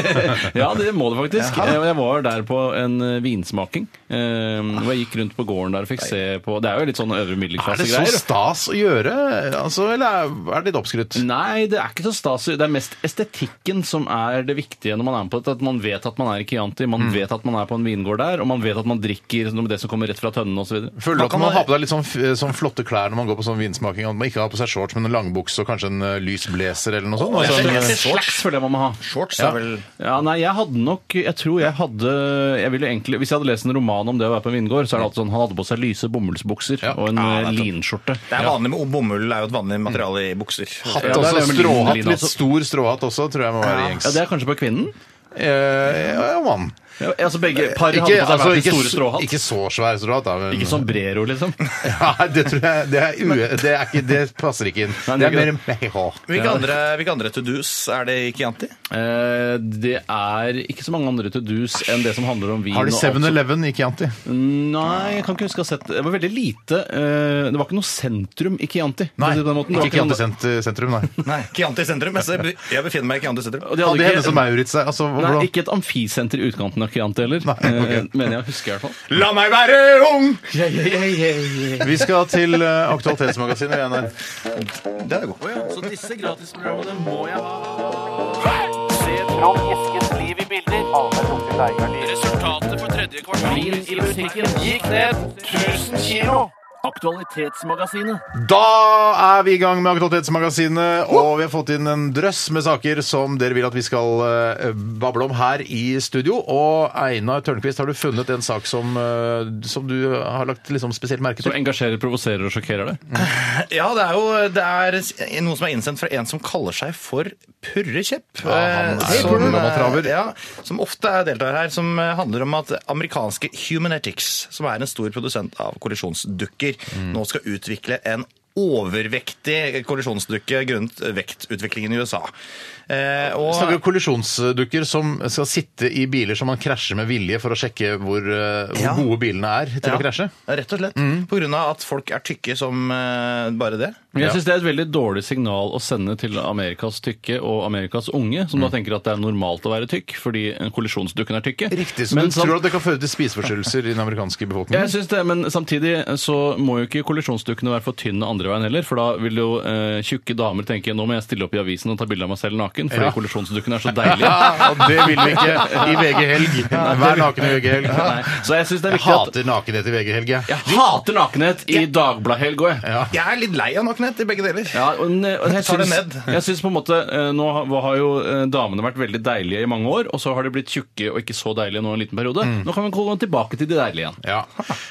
ja, det må det faktisk. Eh, Jeg var der på en eh, vinsmaking. eh, Hvor jeg gikk rundt på gården der og fikk se på Det er jo litt sånn Ah. Er det øvre så middelklasse-greier. stas å gjøre, altså, eller er det litt oppskrytt? Nei, det er ikke så stas. Det er mest estetikken som er det viktige når man er med på dette. At man vet at man er i Chianti, man Mm. vet at man er på en vingård der, og man vet at man drikker noe med det som kommer rett fra tønnen osv. Føler du Man at kan man ha- har på deg litt sånn, f- sånn flotte klær når man går på sånn vinsmaking? At man ikke har på seg shorts, men en langbukse og kanskje en eh, lys blazer eller noe sånt? Å, jeg Altså, en- skjønner. Et slags føler jeg man må ha. Shorts Ja. er vel Ja, nei, jeg hadde nok Jeg tror jeg hadde jeg ville egentlig, Hvis jeg hadde lest en roman om det å være på en vingård, så er det alltid sånn han hadde på seg lyse bomullsbukser Ja. og en Ja, eh, nettopp. linskjorte. Det er vanlig med bomull, er jo et vanlig materiale i bukser. Hatt Ja, det er også, det med altså. stråhatt, linen litt også. stor stråhatt også, tror jeg må være gjengs. Ja, Det er kanskje på kvinnen? Eh, ja, mann. Ja, altså begge par hadde Ikke, på seg altså, hver sin ikke, store så- stråhatt. ikke så svær stråhatt, da. Men, Ikke sombrero, liksom. Nei, det tror jeg Det, er ue, det, er ikke, det passer ikke inn. Nei, det det er mer er Hvilke andre, hvilke andre to do's er det i Chianti? Eh, det er ikke så mange andre til dus enn det som handler om vin. Har de og alt som- 7-Eleven i Chianti? Nei, jeg kan ikke huske å ha sett det. Det var veldig lite. eh, Det var ikke noe sentrum i Chianti. for å si det på den måten. Det var ikke Chianti noe- sent- sentrum, nei. Nei, Chianti sentrum. Jeg ser- jeg befinner meg i Chianti sentrum. Og de Hadde hadde henne som ikke, Maurits seg? Altså, hvordan- nei, ikke et amfisenter i utkanten av Chianti heller. Nei, Eh, Mener jeg husker i hvert fall. La meg være ung! Vi skal til eh, Aktualitetsmagasinet. vi er der. Den er god. Så disse gratisprogrammene må jeg ha. Resultatet på tredje kvartal i butikken gikk ned 1000 kilo. Aktualitetsmagasinet. Da er vi i gang med Aktualitetsmagasinet, og vi har fått inn en drøss med saker som dere vil at vi skal eh, bable om her i studio. Og Einar Tørnquist, har du funnet en sak som, eh, som du har lagt liksom spesielt merke Som til? engasjerer, provoserer og sjokkerer deg. Ja, det er jo det er noe som er innsendt fra en som kaller seg for Purrekjepp. han er eh, jo som, en gammel traver. eh, Ja, som ofte er deltar her, som eh, handler om at amerikanske Humanetics, som er en stor produsent av kollisjonsdukker, Mm. nå skal utvikle en overvektig kollisjonsdukke grunnet vektutviklingen i USA. Eh, og- Vi snakker om kollisjonsdukker som skal sitte i biler som man krasjer med vilje for å sjekke hvor, eh, hvor Ja. gode bilene er til å krasje. Rett og slett. Mm. På grunn av at folk er tykke som eh, bare det. Men jeg syns det er et veldig dårlig signal å sende til Amerikas tykke og Amerikas unge, Mm. som da tenker at det er normalt å være tykk fordi kollisjonsdukken er tykke. Riktig, så Men sånn- du sam- tror at det kan føre til spiseforstyrrelser i den amerikanske befolkningen? Jeg synes det, men samtidig så må jo ikke kollisjonsdukkene være for tynne andre veien heller, for da vil jo eh, tjukke damer tenke nå må jeg stille opp i avisen og ta bilde av meg selv naken, fordi Ja. kollisjonsdukken er så deilig. Ja, og det vil vi ikke i VG Helg. Vær naken i VG Helg. Nei. Så jeg synes det er Jeg viktig at hater nakenhet i VG Helg, jeg. jeg hater nakenhet i Dagbladet-helg òg, jeg. Ah. Jeg er litt lei av nakenhet i begge deler. Ja, og ne- og jeg Tar det syns, ned. jeg syns på en måte eh, Nå har- har jo eh, damene vært veldig deilige i mange år, og så har de blitt tjukke og ikke så deilige nå en liten periode. Nå kan vi gå tilbake til de deilige igjen. Ja,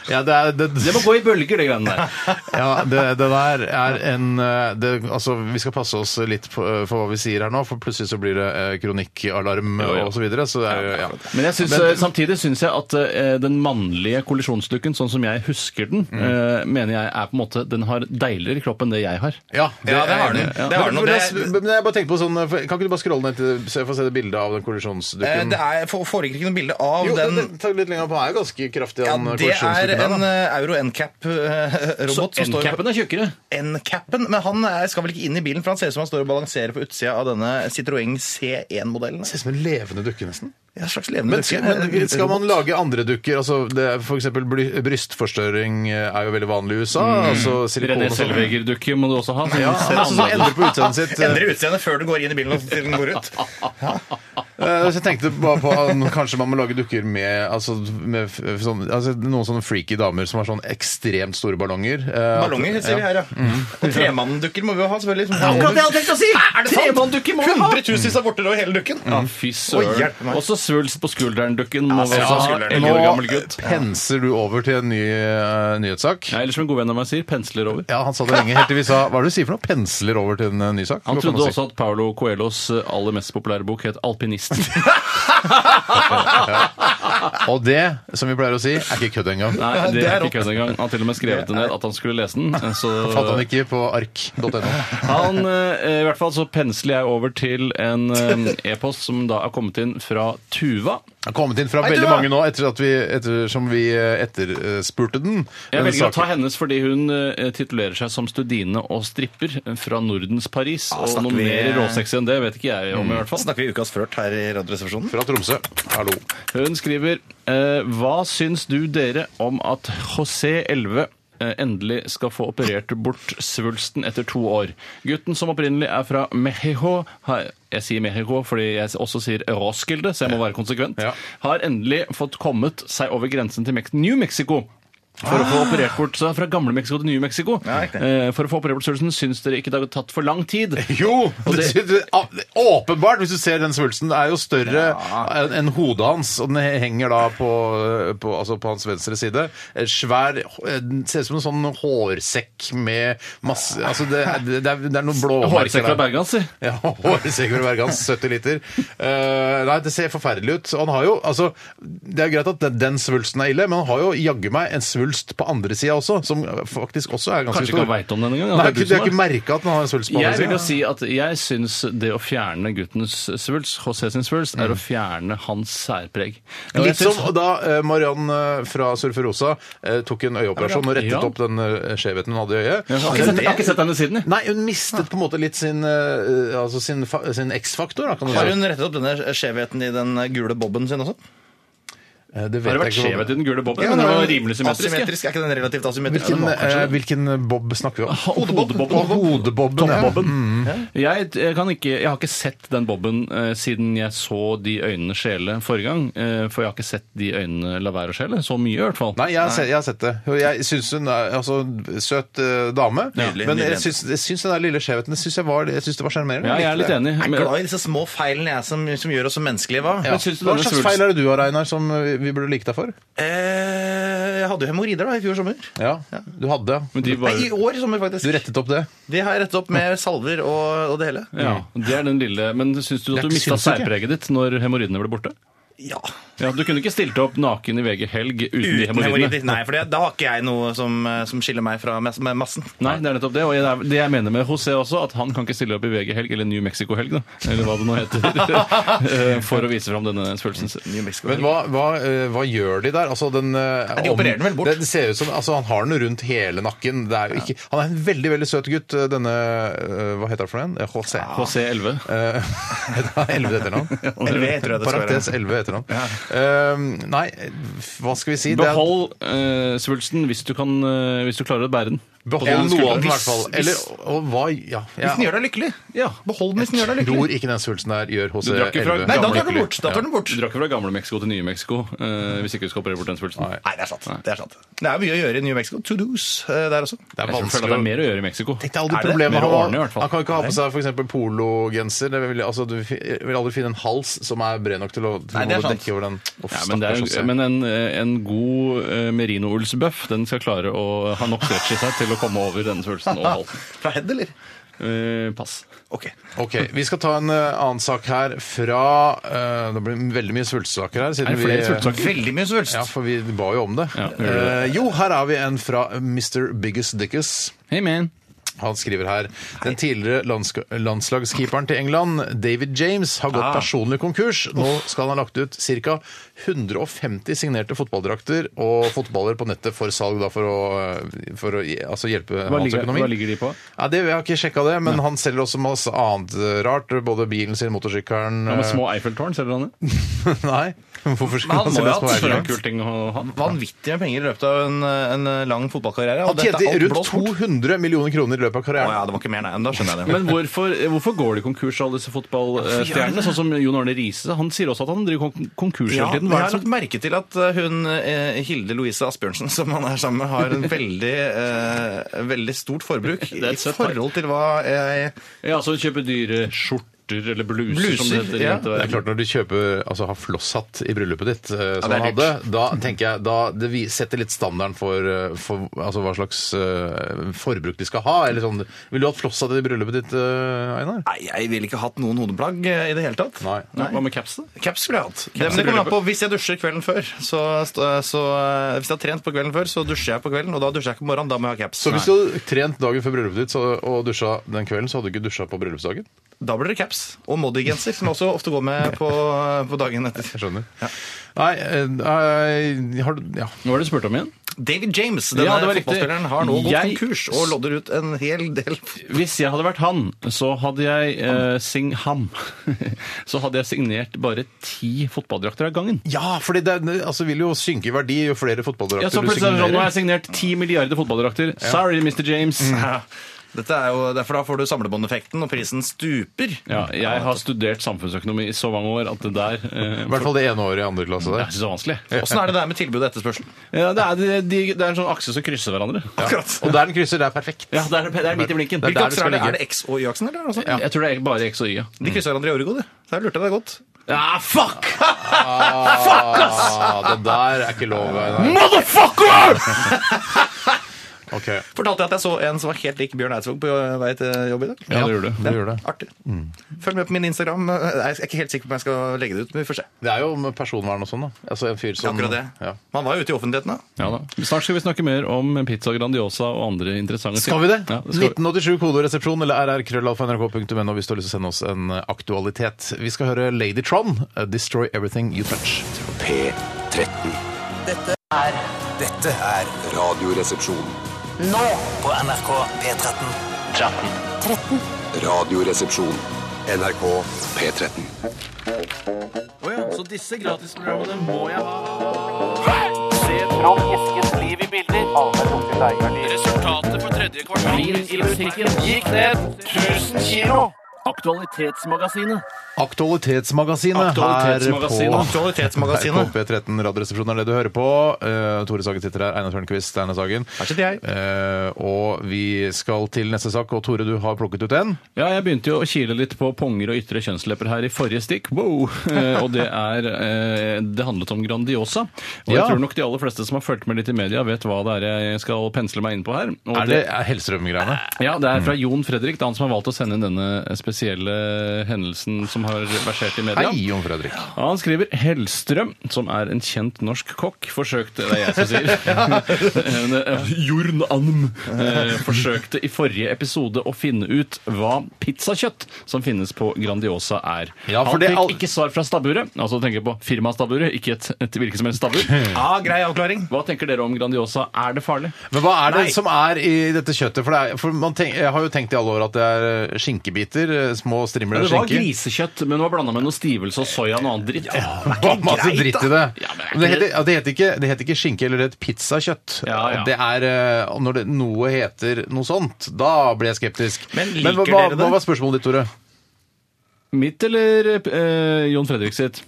ja det er det, Det må gå i bølger, de greiene der. ja, det, det der er en eh, det, Altså, vi skal passe oss litt på, eh, for hva vi sier her nå, for plutselig så blir det eh, kronikkalarm Jo, jo. og så videre. Så det er, jo- ja. Men jeg synes, eh, samtidig syns jeg at eh, den mannlige kollisjonsdukken, sånn som jeg husker den, eh, mener jeg er på en måte Den har deiligere kropp enn det jeg har. Ja, det, Ja, det har er den. jeg enig i. Det har den, og Men, det- men jeg- men jeg bare tenker på sånn, eh, for- Kan ikke du bare scrolle ned til så jeg får se det bildet av den Eh, kollisjonsdukken? Det er, for- foreligger ikke noe bilde av jo, den det, det, ta litt lenger på. Den er jo ganske kraftig, ja, den Det er kollisjonsdukken. der, en da. eh, Euro NCAP-robot som står N-capen er tjukkere. N-capen, men han er, skal vel ikke inn i bilen, for han ser ut som han står og balanserer på utsida av denne Citroën C1-modellen. eh? Ser ut som en levende dukke, nesten. Ja, en slags levende Men, dukke. Eh, men skal man Robot. lage andre dukker? altså det er for eksempel bry- Brystforstørring eh, er jo veldig vanlig i USA. Mm. altså silikon René og sånn. Selveger-dukke må du også ha. Sånn Ja, altså, så endrer på utseendet sitt. Endre eh? utseendet før du går inn i bilen og til den går ut. Eh, Så jeg tenkte bare på at kanskje man må lage dukker med, altså, med f- sånn, altså, noen sånne freaky damer som har sånn ekstremt store ballonger. Eh, at- Ballonger ser vi her, ja. Og tremanndukker må vi jo ha, selvfølgelig. som har Mm. Akkurat det jeg hadde over tenkt å si! Er det sant? Tremann-dukke må vi ha! Hundretusenvis av vorter over hele dukken. Ja, fy Å, søren. hjelp meg. Også svulst på skulderen-dukken må vi svulst på også ha. skulderen. Elleve år gammel Nå gutt. penser du over til en ny eh, nyhetssak. Ja, eller som en god venn av meg sier, pensler over. Ja, han sa det lenge, helt til vi sa Hva er det du sier for noe? Pensler over til en eh, ny sak? Han Hva kan trodde man si? også at Paulo Coelhos eh, aller mest populære bok het 'Alpinisten'. Og det, som vi pleier å si, er ikke kødd engang. Nei, det, det er fikk jeg engang. Han har til og med skrevet ned at han skulle lese den. eh, Så Fant han ikke på ark.no. Han, eh, I hvert fall så pensler jeg over til en eh, e-post som da er kommet inn fra Tuva. har kommet inn fra du veldig hva? mange nå etter at vi, ettersom vi eh, etterspurte den. Jeg Den velger å ta saken. hennes fordi hun eh, titulerer seg som studine og stripper fra Nordens Paris. Ah, og snakker noe vi- mer råsexy enn det vet ikke jeg om, i hvert fall. Snakker vi ukas flørt her i Radioresepsjonen? Fra Tromsø. Hallo. Hun skriver eh, Hva syns du dere om at José 11 eh, endelig skal få operert bort svulsten etter to år? Gutten som opprinnelig er fra Mexico har, Jeg sier Mexico fordi jeg også sier Roskilde, så jeg må være konsekvent. Ja. Har endelig fått kommet seg over grensen til Mex New Mexico. for å få operert bort så fra gamle Mexico til nye Mexico. Ja, riktig. Eh, for å få operert bort svulsten syns dere ikke det har tatt for lang tid. Jo! Det, det- det, ah, åpenbart, hvis du ser den svulsten. Det er jo større enn enn hodet hans, og den he- henger da på, på, altså på hans venstre side. En Svær eh, den Ser ut som en sånn hårsekk med masse Altså, det, er- det, er, det er noen blåmerker Hårsekk fra der. Bergen, si. Ja, hårsekk fra Bergans, 70 liter. Eh, nei, det ser forferdelig ut. Og Han har jo, altså, det er greit at den, den svulsten er ille, men han har jo jaggu meg en svulst på andre sida også, som faktisk også er ganske Kanskje ikke stor. han vet om den engang. Nei, at det er du ikke- som jeg har ikke merka at han har en svulst på Jeg vil andre sida. jo si at jeg syns det å fjerne guttens svulst, HC sin svulst, er å fjerne hans særpreg. Og jeg Litt synes- som da eh, Mariann eh, fra Surferosa eh, tok en øyeoperasjon og rettet Ja. opp den eh, skjevheten hun hadde i øyet. Jeg har ikke sett- jeg har ikke sett henne siden, jeg. Nei, hun mistet på en måte litt sin, eh, altså sin, fa- sin X-faktor, da, kan du Har si. hun rettet opp denne skjevheten i den gule boben sin også? Eh, Det Har vet det vært jeg ikke. skjevhet i den gule boben? Ja, men det den var er rimelig symmetrisk. ja. Asymmetrisk, Er ikke den relativt asymmetrisk? Hvilken, Den var kanskje eh, det. hvilken bob snakker vi om? Hodebobben. Sånn Hodebobben. ja. Mm. Jeg, jeg, kan ikke, jeg har ikke sett den bobben eh, siden jeg så De øynene skjele forrige gang. Eh, for jeg har ikke sett De øynene la være å skjele. Så mye, i hvert fall. Nei, jeg har, sett, jeg har sett det. Og Jeg syns hun er altså søt eh, dame. Nydelig, men jeg nydelig. syns, jeg syns den der lille skjevheten jeg syns jeg var, jeg syns det var sjarmerende. Ja, jeg er likte det. litt enig. Jeg er Men, glad i disse små feilene jeg som, som gjør oss så menneskelige, hva? Ja. Men syns du Hva denne slags svulsten- feil er det du har, Einar, som eh, vi burde like deg for? Eh, jeg hadde jo hemoroider da, i fjor sommer. Ja, du hadde, ja. men de var, Nei, i år sommer, faktisk. Du rettet opp det. Det har jeg rettet opp med salver og, og det hele. ja, Mm. det er den lille, men syns du Det er at du ikke mista sinnssykt, ja. særpreget ditt når hemoroidene ble borte? Ja. Ja, Du kunne ikke stilt opp naken i VG Helg uten, de Uten hemoroidene. hemoroider. Nei, for det, da har ikke jeg noe som, eh, som skiller meg fra mes- med massen. Nei, det er nettopp det. Og jeg- det er- det jeg mener med José også, at han kan ikke stille opp i VG Helg eller New Mexico Helg, da. Eller hva det nå heter. eh, For å vise fram denne svulsten. New Mexico. Men hva, hva, eh, hva gjør de der? Altså, den, eh, de opererer den vel bort. Det, det ser ut som, altså, han har den rundt hele nakken. Det er jo ikke, han er en veldig veldig søt gutt, eh, denne eh, Hva heter han for en? Eh, José. José 11. Eh, det er 11 etternavn. Helvete, tror jeg det skal være. Parentes 11 etternavn. Eh, nei, hva skal vi si? Det er- Behold eh, svulsten hvis du, kan, eh, hvis du klarer å bære den. behold Ja, noe av den, i hvert hvis- fall. Eller og hva Ja. Hvis den Jeg gjør deg lykkelig. Ja. Behold den hvis den gjør deg tror lykkelig. ikke den svulsten der gjør hos Du drar ikke fra- 11. Nei, da gammel tar den lykkelig. bort. Da tar den bort. Du drar ikke fra gamle Mexico til nye Mexico eh, hvis ikke du skal operere bort den svulsten. Nei. Nei, det er sant. Det er sant. Det er mye å gjøre i New Mexico. To do's eh, der også. Det er Jeg føler vanskelig at det å er mer å gjøre i Mexico. Det er alle de Er det? problemene Mer å han har. ordne, i hvert fall. Han kan ikke ha på seg for eksempel pologenser. Det vil, altså, du fi- vil aldri finne en hals som er bred nok til å, til Nei, det er å sant. dekke over den. Uff, Ja, men det er, sånn. stakkars Jose. men en, en god eh, merinoullsbøff den skal klare å ha nok stretch i seg til å komme over denne svulsten og halsen. Fra Head, eller? Eh, pass. Ok. Ok, Vi skal ta en eh, annen sak her fra eh, Det blir veldig mye svulstsaker her. Siden Er det flere vi, svulstsaker? Veldig mye svulst. Ja, for vi ba jo om det. Ja, vi gjorde det. Eh, jo, her har vi en fra Mr. Biggest Dickus. Hey man. Han skriver her Den tidligere landsk landslagskeeperen til England, David James, har Ah. gått personlig konkurs. Nå skal han ha lagt ut ca. 150 signerte fotballdrakter og fotballer på nettet for salg da, for å, for å altså hjelpe Hva hans ligger, økonomi. hva ligger de på? Ja, det, Jeg har ikke sjekka det, men han selger også masse annet rart. Både bilen sin, motorsykkelen Ja, med små Eiffeltårn, selger han det? Nei, hvorfor skal han han må jo selge ha små For det er en hatt eiendommer? sånn kul ting å ha. Vanvittig med penger i løpet av en, en eh, lang fotballkarriere. og Han dette er tjente alt rundt blåst bort. 200 millioner kroner i løpet av Å karrieren. ja, det var ikke mer, nei. Men Da skjønner jeg det. Men hvorfor, hvorfor går de konkurs, alle disse fotballstjernene? Sånn som Jon Arne Riise. Han sier også at han driver kon- konkurs ja, hele tiden. men jeg Hva er har det lagt som merke til at eh, hun eh, Hilde Louise Asbjørnsen, som han er sammen med, har en veldig, eh, veldig stort forbruk er et i søtt forhold til hva jeg Ja, altså kjøper dyre skjorter eller bluser, som det Bluser, heter. i ja. jenteverden. Det er klart Når du kjøper, altså har flosshatt i bryllupet ditt, eh, som det er han hadde, da tenker jeg, da det vi- setter litt standarden for, eh, for altså hva slags eh, forbruk de skal ha. eller sånn. Vil du ha hatt flosshatt i bryllupet ditt, eh, Einar? Nei, jeg ville ikke hatt noen hodeplagg eh, i det hele tatt. Nei. Ja, Hva med caps, da? Caps skulle jeg hatt. Det, men det kommer an på Hvis jeg dusjer kvelden før, så, så, eh, Hvis jeg har trent på kvelden før, så dusjer jeg på kvelden, og da dusjer jeg ikke på morgenen. Da må jeg ha caps. Så hvis du hadde trent dagen før bryllupet ditt så, og dusja den kvelden, så hadde du ikke dusja på bryllupsdagen? Da blir det caps. Og Moddi-genser, som jeg også ofte går med på, på dagen etter. Jeg skjønner. Nei, eh, nei, har du Ja. Hva var det du spurte om igjen? David James, denne Ja, det var riktig. fotballspilleren, har nå gått Jeg- konkurs og lodder ut en hel del Hvis jeg hadde vært han, så hadde jeg eh, sing ham. så hadde jeg signert bare ti fotballdrakter av gangen. Ja, for det er- altså, vil jo synke i verdi jo flere fotballdrakter Ja, så du plutselig er det sånn, Nå har signerer. jeg signert ti milliarder fotballdrakter. Sorry, Mr. James. Dette er jo, derfor da får du samlebåndeffekten, og prisen stuper. Ja, jeg har studert samfunnsøkonomi i så mange år at det der eh, I hvert fall det ene året i andre klasse Jeg der. synes det er vanskelig. Åssen er det der med tilbud og etterspørsel? Ja, det, er, det, de, det er en sånn akse som krysser hverandre. Akkurat. Og der den krysser, det er perfekt. Ja, det er, det er midt i blinken. Det er Hvilke der det akser skal er det? ligge. Er det X og Y-aksen, eller? er det noe sånt? Jeg tror det er bare X og Y. Ja, De krysser hverandre i orgo, de. Så jeg lurte deg godt. ah, fuck! Ah, det der er ikke lov. Einar. Motherfucker! Ok, Fortalte jeg at jeg så en som var helt lik Bjørn Eidsvåg på eh, vei til jobb i dag? Ja, det gjør du. du gjør det. Artig. Følg med på min Instagram. Eh, Jeg er ikke helt sikker på om jeg skal legge det ut, men vi får se. Det er jo med personvern og sånn, da. Altså en fyr som Akkurat det. Ja. Man var jo ute i offentligheten, da. Ja, da. Snart skal vi snakke mer om pizza Grandiosa og andre interessante ting. Skal vi det? Ja, det skal vi. 1987 kodoresepsjon eller rrkrøllalfa.nrk.no hvis du har lyst til å sende oss en eh, aktualitet. Vi skal høre Lady Tron, uh, 'Destroy Everything You Touch'. P13. Dette er Radioresepsjon. Nå på NRK P13. Radioresepsjon. NRK P13. Så disse gratisprogrammene må jeg ha. Se Trond Eskens liv i bilder. Resultatet for tredje kvartal i musikken gikk ned 1000 kilo. Aktualitetsmagasinet. Aktualitetsmagasinet, her Aktualitetsmagasinet. på Aktualitetsmagasinet. Her på P13 Radioresepsjonen er det du hører på. Eh, Tore Sagen sitter her, Einar Tørnquist, Einar Sagen. Her sitter jeg. Eh, og vi skal til neste sak, og Tore, du har plukket ut en. Ja, jeg begynte jo å kile litt på ponger og ytre kjønnslepper her i forrige stikk. Wow! Eh, Og det er eh, Det handlet om Grandiosa. Og jeg Ja. tror nok de aller fleste som har fulgt med litt i media, vet hva det er jeg skal pensle meg inn på her. Og Er det Eh, Mm. er Hellstrøm-greiene? Ja, det er fra Jon Fredrik, det er han som har valgt å sende inn denne spesielle hendelsen som har versert i media. Hei, Jon Fredrik. Ja, han skriver Hellstrøm, som er en kjent norsk kokk, forsøkte Det er jeg som sier. Eh, Jorn Anm eh, forsøkte i forrige episode å finne ut hva pizzakjøtt som finnes på Grandiosa er. Ja, for han det fikk al- ikke svar fra stabburet. Altså tenker jeg på firmaet ikke et, et hvilket som helst stabbur. Ja, grei avklaring. Hva tenker dere om Grandiosa? Er det farlig? Men hva er det Nei. som er i dette kjøttet? For, det er, for man tenk, Jeg har jo tenkt i alle år at det er eh, skinkebiter, eh, små strimler Det av var skinke. grisekjøtt, men det var blanda med noe stivelse og soya og noe annet dritt. Det er masse greit, dritt i da. det. Ja, men er Og det, ikke heter, ja, det, heter ikke, det heter ikke skinke eller et pizzakjøtt. Ja, ja. Og Det er, eh, og når det, noe heter noe sånt, da blir jeg skeptisk. Men liker hva, dere hva, det? hva var spørsmålet ditt, Tore? Mitt eller eh, Jon Fredrik sitt?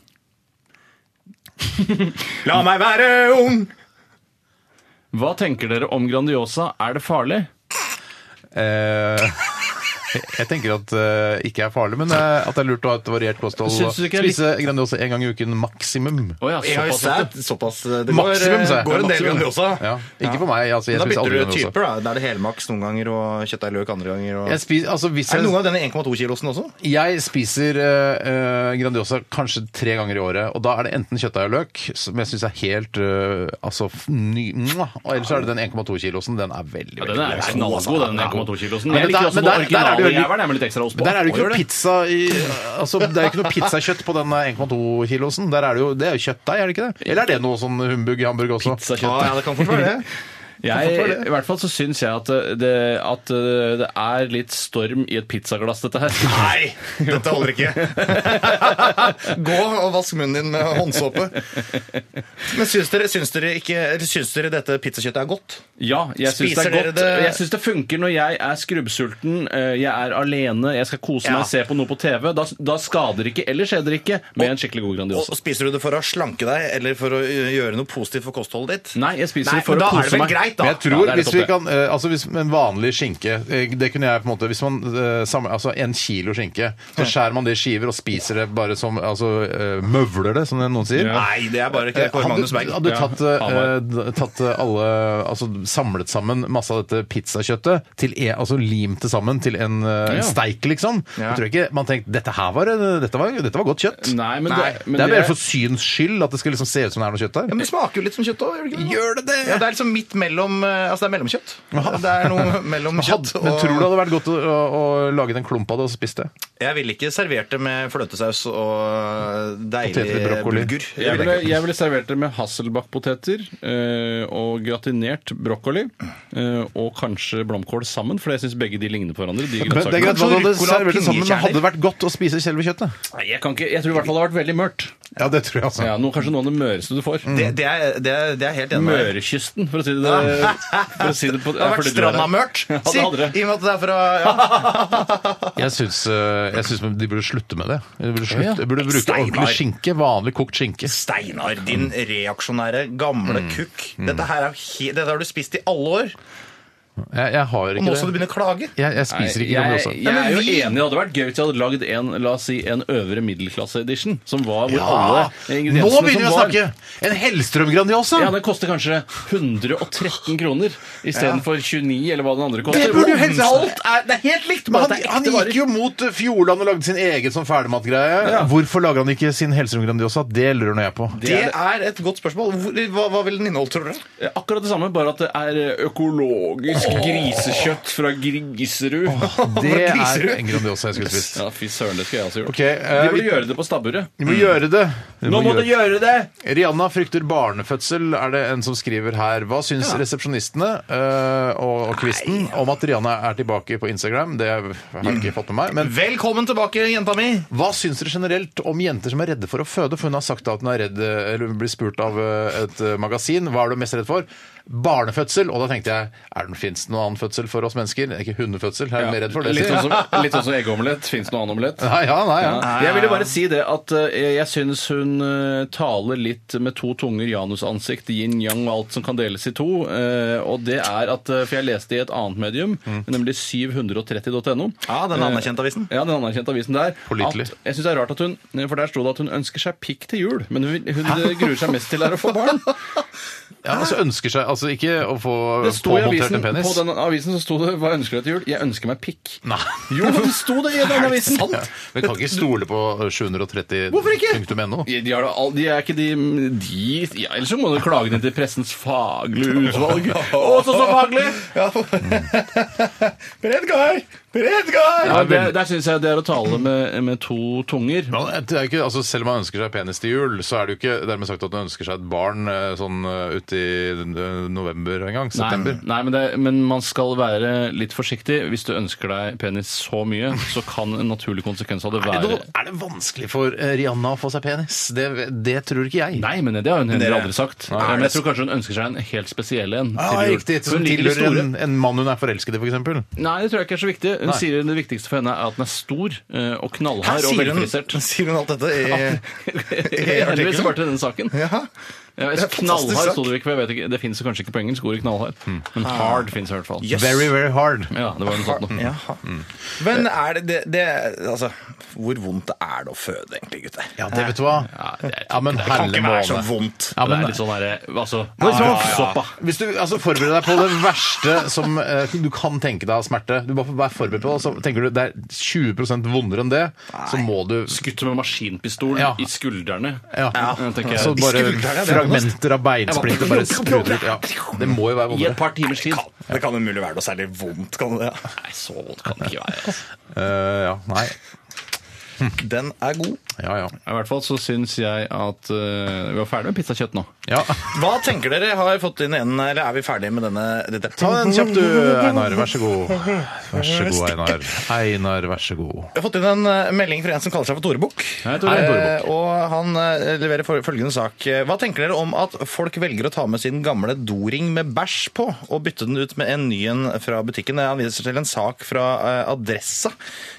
La meg være ung! Hva tenker dere om Grandiosa? Er det farlig? Eh, jeg tenker at det ikke er farlig, men eh, at det er lurt å ha et variert kosthold. Syns du ikke det er litt- Spise Grandiosa en gang i uken maksimum. Å ja, Jeg har jo såpass. vet sett såpass eh, Det går, Maksimum, sa jeg. går en del Maksimum. Grandiosa. Ja. Ikke for meg. Altså, jeg da spiser aldri bytter du Grandiosa. typer, da. Da er det helmaks noen ganger og kjøttdeigløk andre ganger. Og... Jeg spiser, altså, hvis Er det jeg, noen av denne 1,2-kilosen også? Jeg spiser eh, eh, Grandiosa kanskje tre ganger i året, og da er det enten kjøttdeig og løk, som jeg syns er helt eh, altså, f- ny, mwah, og ellers er det den 1,2-kilosen. Den er veldig, Ja, veldig den er god. knallgod, den altså, 1,2-kilosen. Men Jeg liker der- også men den der- der er det originale jo litt- jævelen. Jeg er med litt ekstra ost på. Men Der er det jo Gjør ikke pizza i, altså, Det er jo ikke noe pizzakjøtt på den eh, 1,2-kilosen. Der er det jo det er jo kjøttdeig, er det ikke det? Eller er det noe sånn humbug i Hamburg også? Pizzakjøtt. ja, det kan fort være det. Jeg, I hvert fall så syns jeg at eh, det, at eh, det er litt storm i et pizzaglass, dette her. Nei, dette holder ikke. Gå og vask munnen din med håndsåpe. Men syns dere, syns dere, ikke, eller syns dere dette pizzakjøttet er godt? Ja, jeg syns det Spiser er dere godt. det- Jeg syns det funker når jeg er skrubbsulten, eh, jeg er alene, jeg skal kose Ja. meg, se på noe på TV. Da, da skader det ikke, eller skjer det ikke, med en skikkelig god Og Grandiosa. Spiser du det for å slanke deg eller for å eh, gjøre noe positivt for kostholdet ditt? Nei, jeg spiser Nei, det for men å da er kose det vel meg. greit, da. Men jeg tror, Ja, det er hvis litt vi opp, kan, eh, altså hvis en vanlig skinke eh, Det kunne jeg på en måte Hvis man eh, samler, altså en kilo skinke, så skjærer man det i skiver og spiser det bare som altså, eh, Møvler det, som det noen sier. Nei, det er bare ikke Eh, Kåre Hadde Magnus Berg. hadde du Ja, tatt, eh, Hamar. d- tatt eh, alle Altså samlet sammen masse av dette pizzakjøttet, til e, altså limt det sammen til en, eh, en Ja. steik, liksom, Ja. jeg tror ikke man tenkte dette her var, eh, dette var, dette var godt kjøtt. Nei, men Nei, det, men det er bare for syns skyld at det skal liksom se ut som det er noe kjøtt der. Ja, men det smaker jo litt som kjøtt òg, gjør det ikke Gjør det det? Ja, det er liksom midt mellom eh, Altså, det er mellomkjøtt. Det er noe mellom kjøtt Hadde- Men tror du det hadde vært godt å, å, å lage en klump av det og spist det? Jeg ville ikke servert det med fløtesaus og deilig Poteter i broccoli. bulgur. Det Jeg ville ville, jeg ikke. jeg ville servert det med hasselbakkpoteter eh, og gratinert brokkoli. Eh, og kanskje blomkål sammen, for jeg syns begge de ligner på hverandre. De Men det er grønnsakene. greit, hva du hadde Kanskje ruccola og servert det sammen, men pinjekjerner? hadde det vært godt å spise selve kjøttet? Nei, jeg, kan ikke, jeg tror i hvert fall det hadde vært veldig mørt. Ja, det tror jeg altså. Ja, noe, kanskje noe av det møreste du får. Mm. Det, det, er, det, er, det er helt enig med deg. Mørekysten, for å si det, for å si det på Det har vært stranda mørkt, Ja, si! det hadde det. I og med at det er fra ja. Jeg syns, eh, jeg syns de burde slutte med det. De burde, slutte, Ja. de burde bruke Steinar. ordentlig skinke. Vanlig kokt skinke. Steinar, din reaksjonære gamle kukk. Dette her er he Dette har du spist i alle år, Jeg, jeg har og ikke nå skal du det. begynne å klage. Jeg, jeg spiser ikke Grandiosa. Jeg, Nei, jeg men er jo vi- enig. Det hadde vært gøy hvis jeg hadde lagd en la oss si, en øvre middelklasse-edition. Som var hvor Ja, alle Nå ingrediensene begynner vi som å var snakke! En Hellstrøm Grandiosa! Ja, Den koster kanskje 113 kroner istedenfor 29, eller hva den andre koster. Det burde jo helst- Alt er, det er helt likt! Men Bare han, at det er han ekte varer. gikk jo mot eh, Fjordland og lagde sin egen sånn ferdigmatgreie. Hvorfor lager han ikke sin Hellstrøm Grandiosa? Det lurer nå jeg på. Det er et godt spørsmål. Hvor, hva, hva vil den inneholde, tror dere? Eh, Akkurat det samme, bare at det er eh, økologisk grisekjøtt fra Griserud. Det er Griserud. en Grandiosa jeg skulle spist. Ja, fy søren, det skal jeg også gjøre. Ok, eh, De burde vi- gjøre det på stabburet. Vi må gjøre det. Vi Nå må du gjøre det! Rihanna frykter barnefødsel, er det en som skriver her. Hva syns resepsjonistene eh, og, og Kvisten om at Rihanna er tilbake på Instagram? Det har jeg ikke fått med meg. Men Velkommen tilbake, jenta mi! hva syns dere generelt om jenter som er redde for å føde? For hun har sagt at hun er redd, eh, eller hun blir spurt av eh, et eh, magasin hva er du mest redd for? Barnefødsel. Og da tenkte jeg er det fins noen annen fødsel for oss mennesker? Det er Ikke hundefødsel. Jeg er mer redd for det. Litt sier jeg. sånn som- litt sånn som eggeomelett. Fins det noe annen omelett? Nei, ja, nei, ja. Jeg ville bare si det at eh, jeg syns hun eh, taler litt med to tunger, janusansikt, yin-yang og alt som kan deles i to. eh, Og det er at eh, For jeg leste i et annet medium, Mm. nemlig 730.no. Ja, den anerkjente avisen. Eh, Ja, den anerkjente avisen der. Pålitelig. At, jeg synes det er rart at hun, eh, For der sto det at hun ønsker seg pikk til jul, men hun, hun eh, gruer seg mest til er å få barn. ja altså ønsker seg altså ikke å få Det sto i påmontert avisen, en penis. På den avisen så sto det 'Hva ønsker du deg til jul?' Jeg ønsker meg pikk. Nei. Jo, det sto det i den avisen! Ja. Vi kan ikke stole på 730 Hvorfor ikke? punktum NO. De, de, har da all, de er ikke de, de ja, Ellers så må du klage ned til pressens faglige utvalg. Å, så så faglig! Predgar! Predgar! Ja, det, der syns jeg det er å tale med, med to tunger. Men det er jo ikke, altså selv om han ønsker seg penis til jul, så er det jo ikke dermed sagt at han ønsker seg et barn eh, sånn eh, uti eh, november en gang. September. Nei, men, det, men man skal være litt forsiktig. Hvis du ønsker deg penis så mye, så kan en naturlig konsekvens av det Er det, være noe- er det vanskelig for eh, Rihanna å få seg penis? Det, det tror ikke jeg. Nei, men det har hun heller Dere- aldri sagt. Nei, men det- jeg tror kanskje hun ønsker seg en helt spesiell en. Ja, til jul. riktig. For Som hun liker de tilhører store. en, en mann hun er forelsket i, f.eks. Nei, det tror jeg ikke er så viktig. Hun Nei. sier det viktigste for henne er at den er stor eh, og Her knallhard og sier hun, velfrisert. sier hun alt dette i Heldigvis bare til denne saken. ja. Ja, Det er en fantastisk knallhard sak. sto det ikke, for jeg vet ikke, det fins kanskje ikke på engelsk ordet knallhard, men hard fins i hvert fall. Yes. Very, very hard. Ja, det var noe sånt noe. Jaha. Men er det, det, det Altså, hvor vondt er det å føde, egentlig, gutter? Ja, det vet du hva. Ja, det er- Ja, men det kan herre ikke være så måne. vondt. Ja, det men er litt sånn derre altså, Hvis du- Soppa. Hvis du altså, forbereder deg på det verste som eh, du kan tenke deg av smerte Du bare Vær forberedt på det. og Så tenker du det er 20 vondere enn det, så må du eh, ah, Skutt med maskinpistol Ja. i skuldrene. ja. Ja, tenker jeg. Så altså, bare I skuldrene, det er fragmenter av beinsplitter bare spruter ut. Ja. Det må jo være I et vondere. par timers tid. Kan, det kan umulig være noe særlig vondt. Kan det? ja. Nei, så vondt kan det ikke være. altså. Eh, ja, nei. Den er god. Ja, ja. I hvert fall så syns jeg at eh, Vi var ferdig med pizzakjøtt nå. ja. Hva tenker dere? Har jeg fått inn en, eller er vi ferdige med denne? Dette? Ta den kjapt du, Einar. Vær så god. Vær så god, Einar. Einar, vær så god. Jeg har fått inn en eh, melding fra en som kaller seg for Tore Bukk. Hei, Tore. Eh, Tore Og han eh, leverer for- følgende sak. Eh, Hva tenker dere om at folk velger å ta med sin gamle doring med bæsj på, og bytte den ut med en ny en fra butikken? Eh, Han viser til en sak fra eh, Adressa,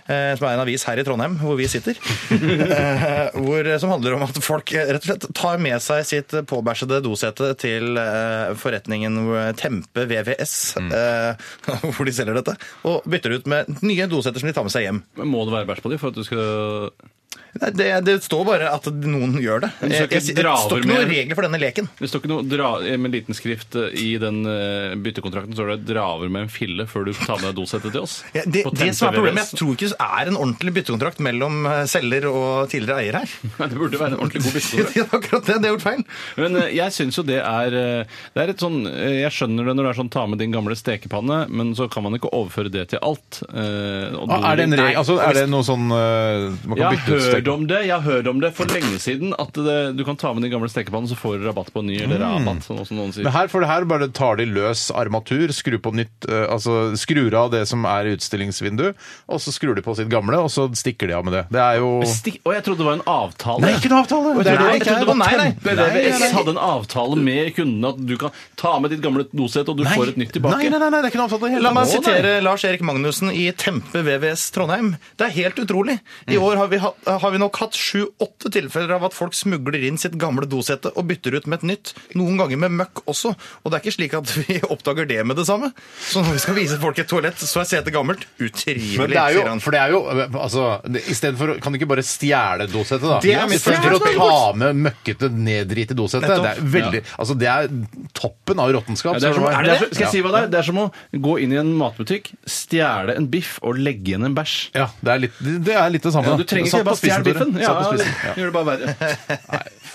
eh, som er en avis her i Trondheim, hvor vi sitter, eh, hvor, som handler om at folk eh, rett og slett tar med seg sitt eh, påbæsjede dosete til eh, forretningen eh, Tempe VVS, Mm. eh, hvor de selger dette, og bytter ut med nye doseter som de tar med seg hjem. Men Må det være bæsj på dem for at du skal Nei, det, det står bare at noen gjør det. Men du skal Jeg- ikke jeg- Det dra står over ikke noen mer. regler for denne leken. Det står ikke noe dra, med liten skrift eh, i den eh, byttekontrakten står det 'dra over med en fille' før du tar med deg dosettet til oss. Ja, det, På det som er Tempe problemet, VVS. jeg tror ikke det er en ordentlig byttekontrakt mellom eh, selger og tidligere eier her. Nei, det burde være en ordentlig god byttekontrakt. Det er akkurat det, det er gjort feil. Men eh, jeg syns jo det er eh, Det er et sånn eh, Jeg skjønner det når det er sånn ta med din gamle stekepanne, men så kan man ikke overføre det til alt. Eh, og Ah, Er det, en doring- regel, altså, er det noe sånn eh, Man kan Jeg bytte har ut hørt hørt om det, jeg har hørt om det for lenge siden. At det, du kan ta med den gamle stekepannen, så får du rabatt på en ny. Eller rabatt, sånn som noen sier. Mm. Men her, for det her bare tar de løs armatur, skrur på nytt, eh, altså skrur av det som er i utstillingsvindu, og så skrur de på sitt gamle, og så stikker de av med det. Det er jo Stikk, og jeg trodde det var en avtale. Nei, ikke en avtale! Jeg Det er trodde, det jeg ikke trodde er. det var Mm. nei, nei. Nei, nei, VVS nei. hadde en avtale med kundene at du kan ta med ditt gamle dosett, og du får et nytt tilbake. Nei, nei, nei, nei, det er ikke noe avtale i det La hele meg tatt. sitere Lars-Erik Magnussen i Tempe VVS Trondheim. Det er helt utrolig. Mm. I år har vi, hatt, har vi nok hatt sju-åtte tilfeller av at folk smugler inn sitt gamle dosette og bytter ut med et nytt. Noen ganger med møkk også. Og det er ikke slik at vi oppdager det med det samme. Så når vi skal vise folk et toalett, så er setet gammelt. Men Utrivelig, det er jo, sier han. for det er jo altså, det- i stedet for, Kan du ikke bare stjele dosettet, da? Det er mitt Istedenfor forslag. å ta med møkkete, neddrite dosettet. Det er veldig, altså, det er toppen av råttenskap. Ja, det er som, spør du meg. det er, så- skal jeg si Ja. hva det er? Det er som å gå inn i en matbutikk, stjele en biff og legge igjen en bæsj. Ja, det er litt det, er litt det samme. Ja, da. du trenger Satt ikke bare på spissen, stjele biffen. Tore. Ja, Satt på det spissen. gjør det bare verre.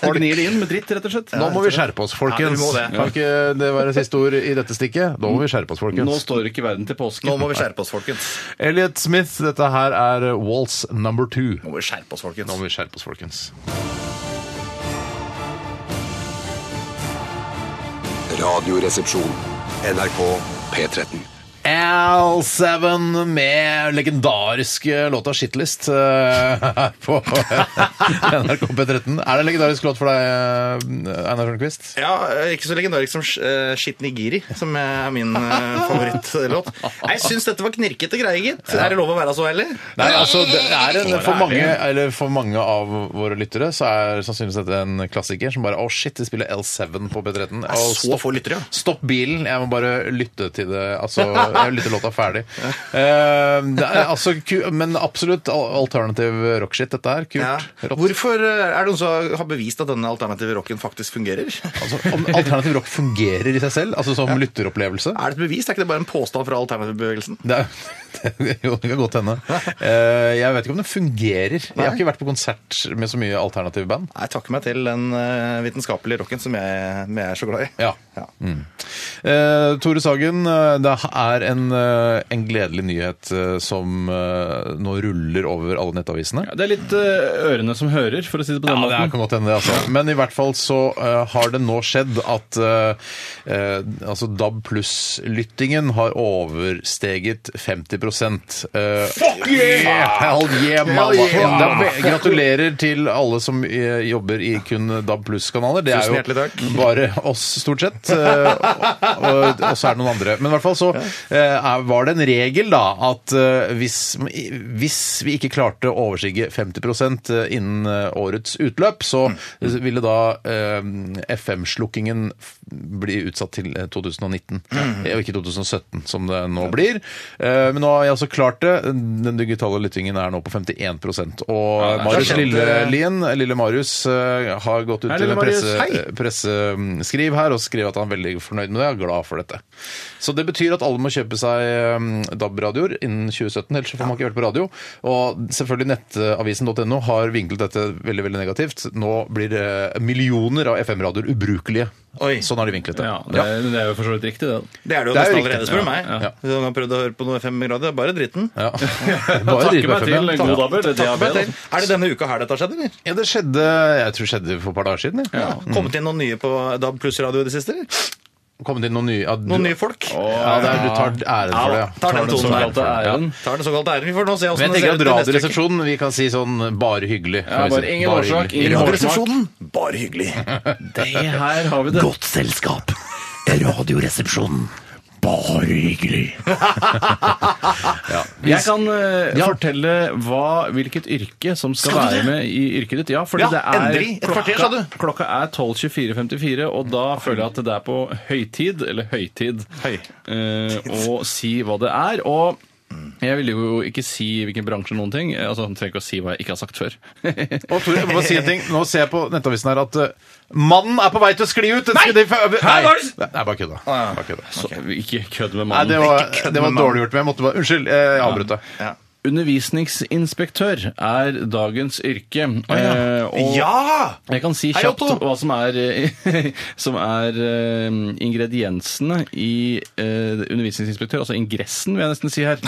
Du gnir det inn med dritt, rett og slett. Nå må vi skjerpe oss, folkens. Ja, dere må det. Kan ikke det være siste ord i dette stikket? Nå må vi skjerpe oss, Nå folkens. står ikke verden til påske. Nå må vi skjerpe oss, folkens. Elliot Smith, dette her er Waltz number two. Nå må vi skjerpe oss, folkens. Nå må vi skjerpe oss, folkens. Radioresepsjon. NRK P13. L7 med legendariske låta 'Shitlist' eh, her på NRK P13. Er det en legendarisk låt for deg, eh, Einar Sjønkvist? Ja, eh, Ikke så legendarisk som eh, Shit Nigiri, som er min eh, favorittlåt. Nei, Jeg syns dette var knirkete greie, gitt. Er det lov å være så ærlig? Nei, altså, det er en, for, mange, eller for mange av våre lyttere så er sannsynligvis dette en klassiker som bare Å, shit, de spiller L7 på P13. er Å, så få lyttere, ja. Stopp bilen. Jeg må bare lytte til det. Altså, jeg lytter låta ferdig. Eh, det er, altså, ku, men absolutt al- alternativ rockshit, dette her. Ja. Kult. Rått. Hvorfor eh, er det noen som har bevist at denne alternative rocken faktisk fungerer? Er Altså, om alternativ rock fungerer i seg selv, altså som lytteropplevelse det et bevis? Er ikke det bare en påstand fra alternativbevegelsen? det er, jo, det kan godt hende. Eh, Jeg vet ikke om det fungerer. Jeg har ikke vært på konsert med så mye alternative band. Nei, Jeg takker meg til den eh, vitenskapelige rocken som jeg, som jeg er så glad i. Ja. Mm. Eh, Tore Sagen, eh, det er en, eh, en gledelig nyhet eh, som eh, nå ruller over alle nettavisene. Ja, det er litt eh, ørene som hører, for å si det på den Ja, det er- måten. kan godt hende det, altså. Men i hvert fall så eh, har det nå skjedd at eh, eh, altså DAB pluss-lyttingen har oversteget 50 uh, Fuck yeah! Hell yeah, mama! Det er- gratulerer til alle som eh, jobber i kun DAB pluss-kanaler. Det er Tusen jo hjertelig takk. bare oss, stort sett. eh, og, og, og så er det noen andre. Men i hvert fall så eh, er- var det en regel, da, at eh, hvis, hvis vi ikke klarte å overstige 50 innen eh, årets utløp, så ville da eh, FM-slukkingen f- bli utsatt til eh, 2019. Eh, Og ikke 2017, som det nå blir. Eh, Men nå har jeg altså klart det. Den digitale lyttingen er nå på 51 Og Marius kjent, eh, Lillelien, Lille Marius, eh, har gått ut Hei, til lille en Marius. presse, presseskriv her og skriver at han er veldig fornøyd med det og glad for dette. Så det betyr at alle må kjøpe seg um, DAB-radioer innen 2017, ellers så får man ikke hørt på radio. Og selvfølgelig nettavisen.no har vinklet dette veldig veldig negativt. Nå blir det millioner av FM-radioer ubrukelige. Oi. Sånn har de vinklet det. Ja, det, er- det er jo for så vidt riktig, det. Det er det jo Det er nesten jo allerede, riktig. spør du Ja, meg. ja. Hvis noen har prøvd å høre på noe FM grader, det er bare dritten. Ja. Bare Takke driver meg FM, til ja. god dabber. Det er Takk DAB. meg da. til. Er det denne uka her dette har skjedd, eller? Ja, det skjedde jeg tror det skjedde for et par dager siden. Ja. Kommet inn noen nye på DAB pluss-radio i det siste? eller? Kom det inn noen nye ja, du- Noen nye folk? Ja, det er, du tar æren for det. Ja. Tar Den den tonen der. såkalte æren. Tar den såkalte æren. Vi får nå se Men åssen jeg det tenker ser at ut i neste uke. Radioresepsjonen vi kan si sånn bare hyggelig. Ja, bare ingen årsak, hyggelig. ingen årsak. Radioresepsjonen, bare hyggelig. Det her har vi det. Godt selskap. Radioresepsjonen. Bare hyggelig. Jeg kan eh, fortelle hva, hvilket yrke som skal, Skal du være det? med i yrket ditt. Ja, fordi Ja, det er endelig. Et kvarter, sa du. klokka er 12.24,54, og da føler jeg at det er på høytid, eller høytid, Høy. eh, å si hva det er. Og jeg ville jo ikke si hvilken bransje noen ting. Eh, Altså, jeg trenger ikke å si hva jeg ikke har sagt før. Og Tore, jeg må bare si en ting. Nå ser jeg på Nettavisen her at eh, mannen er på vei til å skli ut! Den skulle de fø- Nei! var det- Nei, bare kødda. Ah, Bare kødda. Så, Ikke kødd med Nei, det mannen. var, Ikke kødd det var med dårlig gjort, men jeg måtte bare Unnskyld, eh, jeg avbrøt deg. Ja. Undervisningsinspektør er dagens yrke. Eh, og Ja! Jeg kan si Hei, kjapt Otto! hva som er, som er eh, ingrediensene i eh, undervisningsinspektør, altså ingressen, vil jeg nesten si her,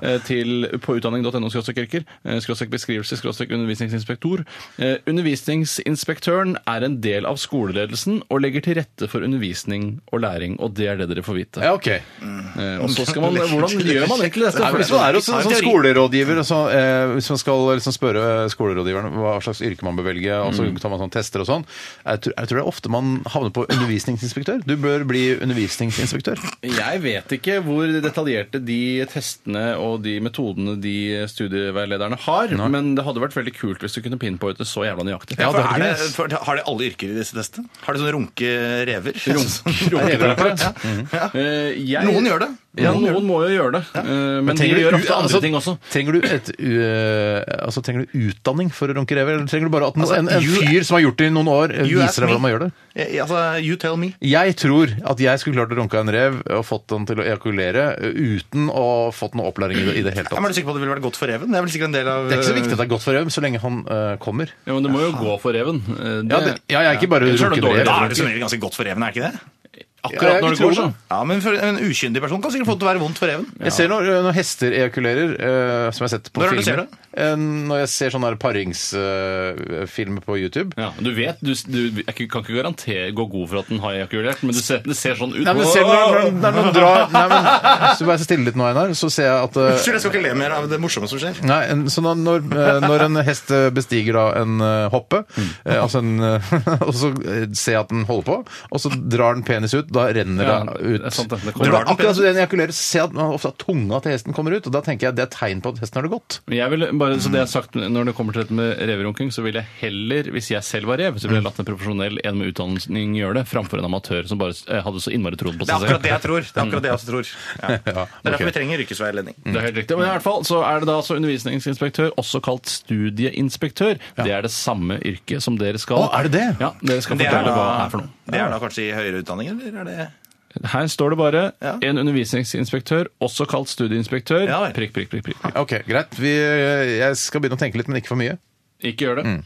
eh, til, på utdanning.no skråstrek yrker, eh, skråstrek beskrivelse, skråstrek undervisningsinspektor. Eh, undervisningsinspektøren er en del av skoleledelsen og legger til rette for undervisning og læring, og det er det dere får vite. Ja, ok. Mm. Eh, og så skal man, hvordan gjør man egentlig dette? Nei, men hvis man er hos en sånn Teori. skolerådgiver, og så, eh, hvis man skal liksom spørre skolerådgiveren hva slags yrke man bør velge, og så Mm. tar man sånn tester og sånn, jeg tror, jeg tror det er ofte man havner på undervisningsinspektør. Du bør bli undervisningsinspektør. Jeg vet ikke hvor detaljerte de testene og de metodene de studieveilederne har, men det hadde vært veldig kult hvis du kunne pinpointe så jævla nøyaktig. Ja, For det er det er det, ikke det. for, har de alle yrker i disse testene? Har de sånn runke rever? Runketerapert. Ja. Eh, jeg- Noen gjør det. Ja, noen må jo gjøre det. Eh, Men de trenger du gjør u- ofte andre altså, ting også. Trenger du, et, u- altså, trenger du utdanning for å runke rever, eller trenger du bare at no- en, en you- fyr som har gjort det i noen år, eh, You ask viser deg me. hvordan man gjør det? Ja, altså, you tell me. Jeg tror at jeg skulle klart å runke en rev og fått den til å ejakulere eh, uten å fått noe opplæring i det, i det hele Jeg tatt. er du sikker på at det ville vært godt for reven? Det er vel sikkert en del av Det er ikke så viktig at det er godt for rev, så lenge han eh, kommer. Ja, men det må jo gå for reven. Eh, Ja, det, ja, jeg er ikke bare Ellers er det runken dårlig rev. Da er det som regel ganske godt for reven, er det ikke det? Ja, Akkurat jeg når det tror går, sånn. det. så. Ja, men for En ukyndig person kan sikkert få det til å være vondt for reven. Jeg ser når, når hester ejakulerer, eh, som jeg har sett på Når er filmer det du ser det? Eh, Når jeg ser sånne paringsfilmer på YouTube. Ja, du vet, du, du jeg kan ikke garantere gå god for at den har ejakulert, men du ser, det ser sånn ut. Nei, men selv når, når, når den drar Nei, men Hvis du bare er så stille litt nå, Einar, så ser jeg at eh, Unnskyld, jeg skal ikke le mer av det morsomme som skjer. Nei, en- så når, når, eh, når en hest eh, bestiger da en eh, hoppe, eh, altså en, eh, og så eh, ser jeg at den holder på, og så drar den penis ut, da renner Ja, den det ut. er sant det. Det Men kommer- det er akkurat som den ejakulerer, så ser jeg at man ofte at tunga til hesten kommer ut, og da tenker jeg at det er tegn på at hesten har det godt. Men Jeg vil, bare så det jeg har sagt Når det kommer til dette med reverunking, så vil jeg heller, hvis jeg selv var rev, så ville jeg latt en profesjonell en med utdanning gjøre det, framfor en amatør som bare eh, hadde så innmari trodd på Det er seg akkurat selv. det jeg tror. Det er akkurat det jeg også tror. Ja. Det er derfor vi trenger yrkesveiledning. Det er helt riktig. Men i hvert fall så er det da altså undervisningsinspektør, også kalt studieinspektør. Det er det samme yrket som dere skal Å, er det det? Ja, dere skal Det er fortelle da- hva det er for noe. Det er da kanskje i høyere utdanning, eller er det Her står det bare Ja. en undervisningsinspektør, også kalt studieinspektør. Ja, vel. Prikk, prikk, prikk, prikk, prikk. Ok, greit. Vi, eh, jeg skal begynne å tenke litt, men ikke for mye. Ikke gjør det. Mm.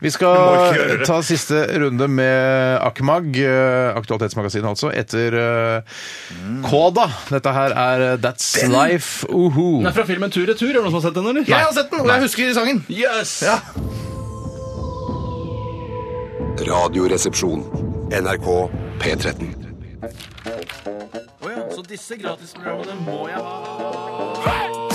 Vi må ikke gjøre skal det. ta siste runde med Akmag, eh, Aktualitetsmagasinet altså, etter eh, Koda. Dette her er eh, That's Life, uhu. Den er fra filmen Tur retur. Er det noen som har sett den, eller? Jeg har sett den, og jeg husker sangen! Yes! Radioresepsjon. NRK P13. Å ja, så disse gratisprogrammene må jeg ha.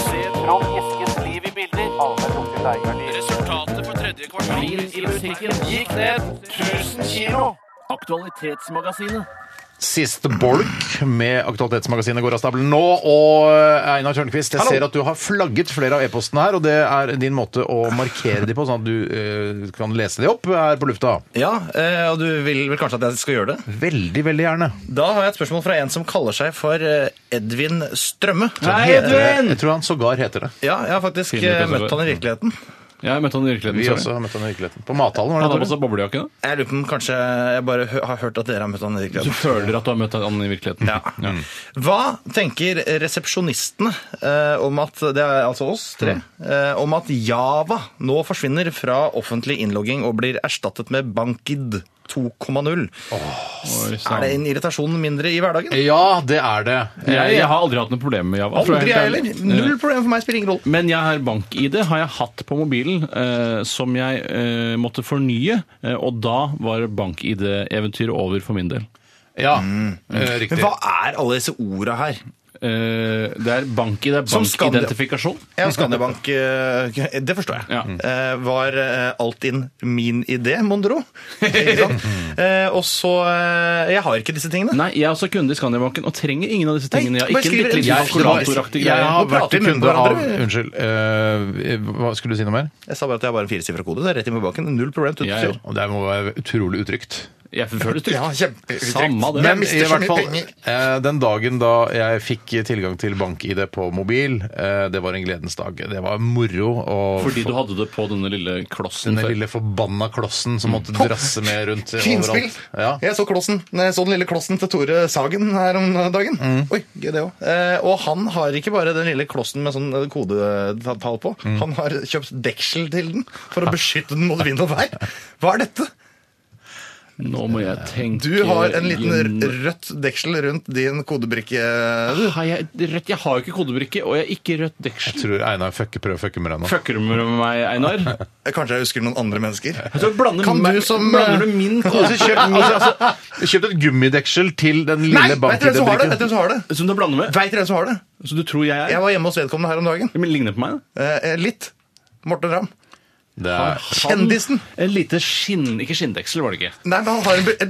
Se Trond Eskens liv i bilder. Resultatet for tredje kvartal i musikken gikk ned 1000 kilo. Aktualitetsmagasinet. Siste bolk med Aktualitetsmagasinet går av stabelen nå. Og eh, Einar Tørnquist, jeg Hallo. ser at du har flagget flere av e-postene her, og det er din måte å markere de på, sånn at du eh, kan lese de opp her på lufta. Ja, eh, og du vil vel kanskje at jeg skal gjøre det? Veldig, veldig gjerne. Da har jeg et spørsmål fra en som kaller seg for eh, Edvin Strømme. Eh, Edvin! Jeg tror han sågar heter det. Ja, jeg har faktisk Finner ut eh, av møtt det. han i virkeligheten. Jeg møtte han i virkeligheten. Vi sorry. også har møtt han i virkeligheten. På mathallen, var Han det har det? på seg boblejakke, da. Jeg lurer på om kanskje jeg bare hø- har hørt at dere har møtt han i Du virkeligheten. føler at du har møtt han i virkeligheten? Ja. Mm. Hva tenker resepsjonistene eh, om at det er altså oss tre, eh, om at Java nå forsvinner fra offentlig innlogging og blir erstattet med BankID 2,0? Oi, Er det sann. en irritasjon mindre i hverdagen? Ja, det er det. Jeg, jeg har aldri hatt noe problem med Java. for å Aldri være jeg helt heller. ærlig. Null problem for meg, spiller ingen rolle. Men jeg har bank-ID har jeg hatt på mobilen eh, som jeg eh, måtte fornye, eh, og da var bank-ID-eventyret over for min del. Ja, eh, riktig. Mm. Men hva er alle disse orda her? Eh, det er bank-ID, er Som Skandia. bank-identifikasjon. Ja, Skandiabank eh, Det forstår jeg. Ja. Eh, Var eh, alt inn min idé, mon tro? Ikke sant? Eh, Og så eh, Jeg har ikke disse tingene. Mm. Nei, jeg er også kunde i Skandiabanken og trenger ingen av disse tingene. Nei, Jeg har bare ikke en skriver bitte en- liten kalkulatoraktig Jeg greie. har Nå vært prater vi med kunde av hverandre. Unnskyld. eh, hva skulle du si noe mer? Jeg sa bare at jeg har bare en firesifra kode. så Det er rett inn på banken. Null problem. tutt, Ja, ja. sier. Og Det må være utrolig utrygt. Jeg føler det trygt. Ja, kjempeutrygt. Samme det. Men- Men mister i så hvert mye fall, penger. eh, den dagen da jeg fikk tilgang til bank-ID på mobil, eh, det var en gledens dag. Det var moro å Fordi få du hadde det på denne lille klossen denne før. lille forbanna klossen som måtte drasse med rundt Finspill! overalt. Ja. Jeg så, klossen, jeg så den lille klossen til Tore Sagen her om dagen. Oi, gøy det også. Eh, og han har ikke bare den lille klossen med sånn eh, kodetall på. Han har kjøpt deksel til den for å beskytte den mot vind og vær. Hva er dette? Nå må jeg tenke Du har en liten igjen. r- rødt deksel rundt din kodebrikke. Har jeg, rett, jeg har jo ikke kodebrikke, og jeg har ikke rødt deksel. Tror Einar fucker, prøver å fucke med deg nå. Fucker du med meg, Einar? Jeg Eh, Kanskje jeg husker noen andre mennesker. tror jeg blander, Kan meg- du som, eh, blander du min Altså, kode kjøpt, altså, kjøpt et gummideksel til den Nei! lille Vet dere hvem som har det? bank-ID-brikken. Vet dere hvem som har det? som du blander med? Vet dere hvem som har det? Så du tror jeg Jeg er? var hjemme hos vedkommende her om dagen. Men ligner på meg? da? Eh, eh, litt. Morten Ramm. Det er Kjendisen. Han- En lite skinn... Ikke skinndeksel, var det ikke? Nei, men han har en be- et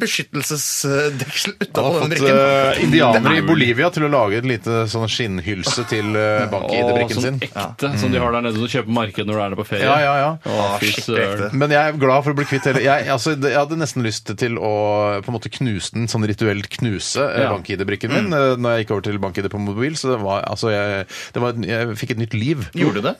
beskyttelsesdeksel Han utapå har fått den brikken. eh, indianere i Bolivia til å lage et lite sånn skinnhylse til eh, bank-ID-brikken sånn sin. ekte, som de har der nede som du kjøper på markedet når du er der på ferie. Ja, ja, ja. Å, fy søren. Men jeg er glad for å bli kvitt hele jeg, altså, det- jeg hadde nesten lyst til å på en måte knuse den, sånn rituelt knuse eh, Ja. Mm. bank-ID-brikken min eh, når jeg gikk over til bank-ID på mobil. Så det var, altså, jeg, det var, jeg fikk et nytt liv. Gjorde du det?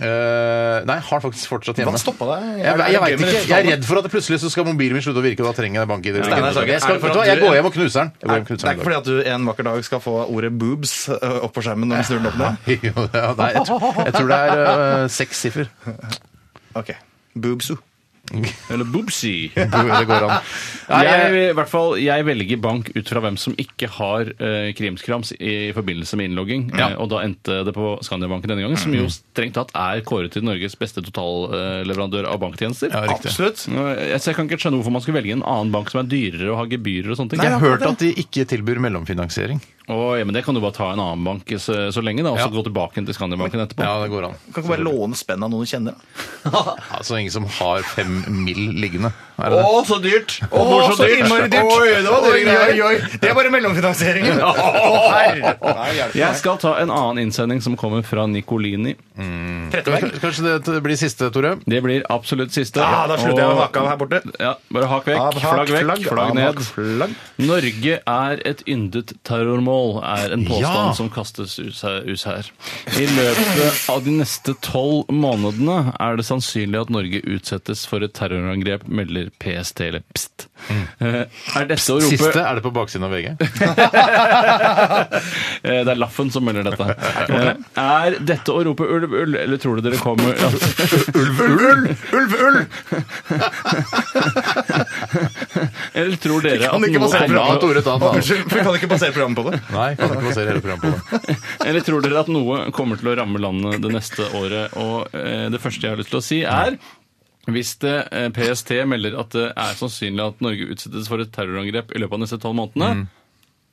Eh, nei, har faktisk fortsatt hjemme. Hva stoppa deg? Jeg, jeg, jeg Er det vet gøy med ikke. resultatet? Jeg er redd for at det plutselig så skal mobilen min slutte å virke, og da trenger jeg bank-ID-brikken. Steinar Sagen, Jeg, skal- er det for vet du hva, at jeg du- går hjem og knuser den. Jeg går hjem og Det knuser den. i er ikke dag. fordi at du en vakker dag skal få ordet 'boobs' eh, opp på skjermen når du snur den opp ned? Jo, ja, nei, jeg, tror, jeg tror det er eh, seks siffer. Ok. Boobsu. Eller boobsy. Det går an. Nei, jeg, jeg, i hvert fall, jeg velger bank ut fra hvem som ikke har eh, krimskrams i forbindelse med innlogging. Eh, og da endte det på Skandiabanken denne gangen, som jo strengt tatt er kåret til Norges beste totalleverandør av banktjenester. Ja, riktig. Absolutt. Nå, jeg- så jeg kan ikke skjønne hvorfor man skulle velge en annen bank som er dyrere og har gebyrer og sånne ting. jeg har hørt at de ikke tilbyr mellomfinansiering. Å, ja, men det kan du bare ta i en annen bank så, så lenge, da, og så gå tilbake til Skandiabanken etterpå. Ja, det går an. Kan ikke bare låne spenn av noen du kjenner. da? Altså ingen som har fem mil liggende. Er det det? Å, så dyrt! Å, Å, så innmari dyrt! Oi, det var dyre greier. Det er bare mellomfinansieringen. Jeg skal ta en annen innsending som kommer fra Nicolini. Kanskje, kanskje det t- blir siste, Tore? Det blir absolutt siste. Ja, da slutter jeg å Og- hakke av her borte. Ja, bare hakk vekk, Av, hakk, flagg vekk, flagg, av, ned. hakk, Flagg. Norge er et yndet terrormål, er en påstand Ja. som kastes ut her- ut her. I løpet av de neste tolv månedene er det sannsynlig at Norge utsettes for et terrorangrep, melder PST eller PST. Eh, Er dette å rope Siste er det på baksiden av VG. Eh, Det er Laffen som melder dette. Eh, Er dette å rope ulv, ulv, eller tror du dere kommer Ulv, ulv! Ulv, ulv! Eller tror dere at Kan ikke noe basere kommer Bra, til å- Tore, ta en annen. Unnskyld, vi kan ikke basere programmet på det. Nei, kan ikke basere hele programmet på det. Eller tror dere at noe kommer til å ramme landet det neste året? Og eh, det første jeg har lyst til å si, er hvis det, eh, PST melder at det er sannsynlig at Norge utsettes for et terrorangrep i løpet av de neste tolv månedene,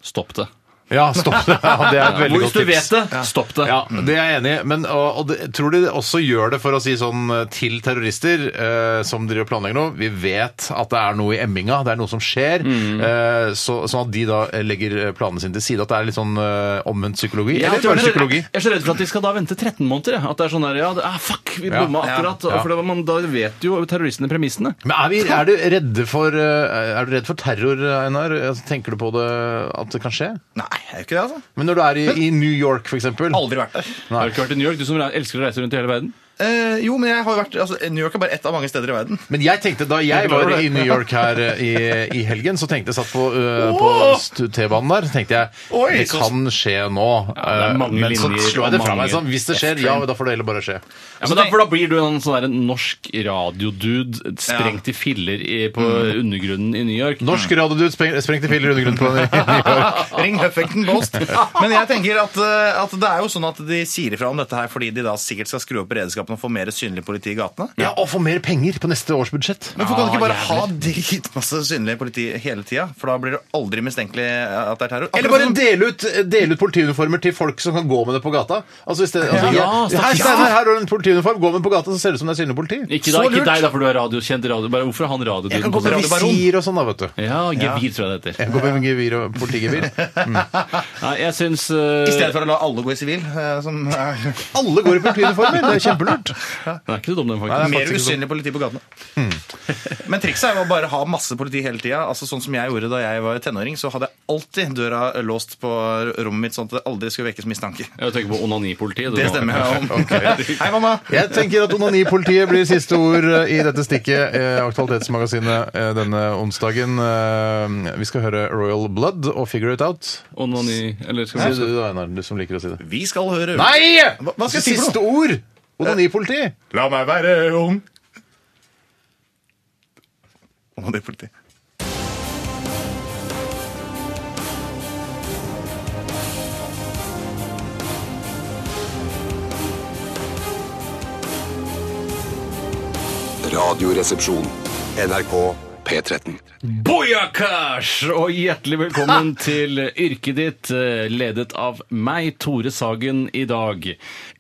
stopp det. Ja, stopp det. Ja, det er et Mm. veldig Hvis godt du tips. vet det, stopp det. Ja, det er jeg enig i. Men og, og det, tror de også gjør det for å si sånn eh, til terrorister eh, som driver og planlegger noe Vi vet at det er noe i emminga, det er noe som skjer. Eh, så, sånn at de da eh, legger eh, planene sine til side. At det er litt sånn eh, omvendt psykologi. Jeg er, Eller litt redd- bare psykologi. jeg er så redd for at de skal da vente 13 måneder. jeg. At det er sånn der, ja, det, ah, fuck, vi Ja, bomma ja, akkurat. ja. For det, man, da vet jo terroristene premissene. Men er, vi, er, du redde for, eh, er du redd for terror, Einar? Altså, Tenker du på det at det kan skje? Nei, jeg er jo ikke det, altså. Men når du er i, i New York, for eksempel Aldri vært der. Har du ikke vært i New York, du som re- elsker å reise rundt i hele verden? Eh, jo, men jeg har jo vært, altså, New York er bare ett av mange steder i verden. Men jeg tenkte, da jeg var i New York her eh, i, i helgen, så tenkte jeg satt på, eh, på stu- T-banen der, tenkte jeg Oi, det så- kan skje nå. Ja, det er mange Eh, men så linjer slo jeg det og fra meg mange sånn. Hvis det skjer, ja, da får det heller bare skje. Ja, men da, for da blir du en sånn der norsk radiodude sprengt i filler i, på Mm. undergrunnen i New York. Norsk radiodud spreng, sprengte filler i undergrunnen på den i New York. Ring Huffington Post. Men jeg tenker at, eh, at det er jo sånn at de sier ifra om dette her fordi de da sikkert skal skru opp beredskapen og få mer synlig politi i gatene. Ja, og få mer penger på neste års budsjett. Men hvorfor kan de ikke bare Ja, ha dritmasse synlig politi hele tida? For da blir det aldri mistenkelig eh, at det er terror. Eller Akkurat bare som- dele ut, dele ut politiuniformer til folk som kan gå med det på gata. Altså, i stedet, altså, Ja, jeg- stakkars. her, Steinar, her har du en politiuniform, gå med den på gata, så ser det ut som det er synlig politi. Ikke, da, Så ikke lurt. deg, da, for du er radiokjent. Radio. Bare, hvorfor er han Jeg kan radioduden? gå på med sånn? Radiobaron. visir og sånn, da, vet du. Ja, gevir, tror jeg det heter. Jeg går med gevir og politigevir. Nei, jeg syns I stedet for å la alle gå i sivil, eh, som er Alle går i politiuniformer. Det er kjempelurt. lurt. Den er ikke så dum, den, Det faktisk. er mer usynlig politi på gatene. Men trikset er jo å bare ha masse politi hele tida. Altså, sånn som jeg gjorde da jeg var tenåring, så hadde jeg alltid døra låst på rommet mitt, sånn at det aldri skulle vekkes mistanke. Jeg tenker på onanipolitiet. Det stemmer jeg om. Hei, mamma! Jeg tenker at onanipolitiet blir siste ord eh, i dette stikket. eh, Aktualitetsmagasinet eh, denne onsdagen. Eh, Vi skal høre Royal Blood og Figure It Out. Onani, eller skal Si vi si det, du, Einar, du som liker å si det. Vi skal høre Nei! Hva- hva skal jeg si for siste ord! Onanipoliti. La meg være ung. Onanipoliti. Radioresepsjon. NRK P13. Boyakash! Og hjertelig velkommen til Yrket ditt, eh, ledet av meg, Tore Sagen, i dag.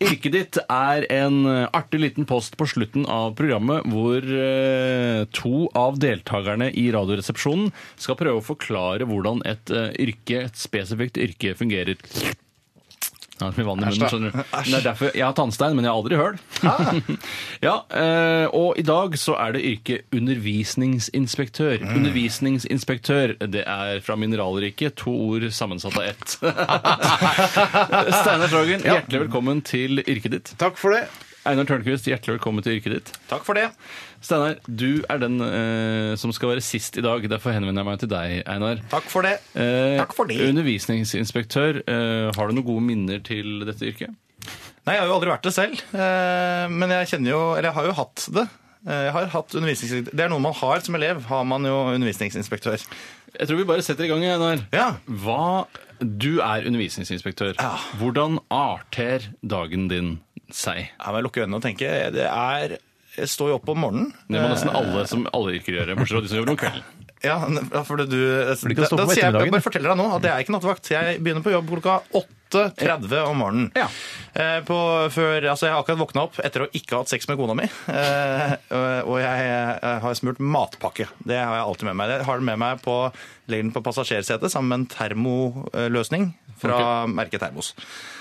Yrket ditt er en eh, artig liten post på slutten av programmet hvor eh, to av deltakerne i Radioresepsjonen skal prøve å forklare hvordan et eh, yrke, et spesifikt yrke, fungerer. Ja, det er så mye vann i munnen, skjønner du. Det er derfor jeg har tannstein, men jeg har aldri Ah. høl. ja, eh, og i dag så er det yrket undervisningsinspektør. Mm. Undervisningsinspektør, det er fra mineralriket, to ord sammensatt av ett. Steinar Sagen, hjertelig velkommen til yrket ditt. Takk for det. Einar Tørnquist, hjertelig velkommen til yrket ditt. Takk for det. Steinar, du er den eh, som skal være sist i dag, derfor henvender jeg meg til deg, Einar. Takk for det. Eh, Takk for det. Undervisningsinspektør, eh, har du noen gode minner til dette yrket? Nei, jeg har jo aldri vært det selv. eh, Men jeg kjenner jo Eller jeg har jo hatt det. Eh, Jeg har hatt undervisningsinspektør. Det er noe man har som elev. Har man jo undervisningsinspektør. Jeg tror vi bare setter i gang, Einar. Ja. Hva, du er undervisningsinspektør. Hvordan arter dagen din seg? Jeg må lukke øynene og tenke. Det er Jeg står jo opp om morgenen. Det må Eh. nesten alle som alle yrker gjøre, bortsett fra de som jobber om kvelden. Ja, n- ja, fordi du du ikke da, stå da på sier jeg, ettermiddagen? jeg bare forteller deg nå at jeg er ikke nattevakt. Jeg begynner på jobb klokka 8.30 om morgenen. Ja. Eh, På, før, altså jeg har akkurat våkna opp etter å ikke ha hatt sex med kona mi. eh, Og og jeg eh, har smurt matpakke. Det har jeg alltid med meg. Jeg har den med meg på, legger den på passasjersetet sammen med en termoløsning fra merket Termos.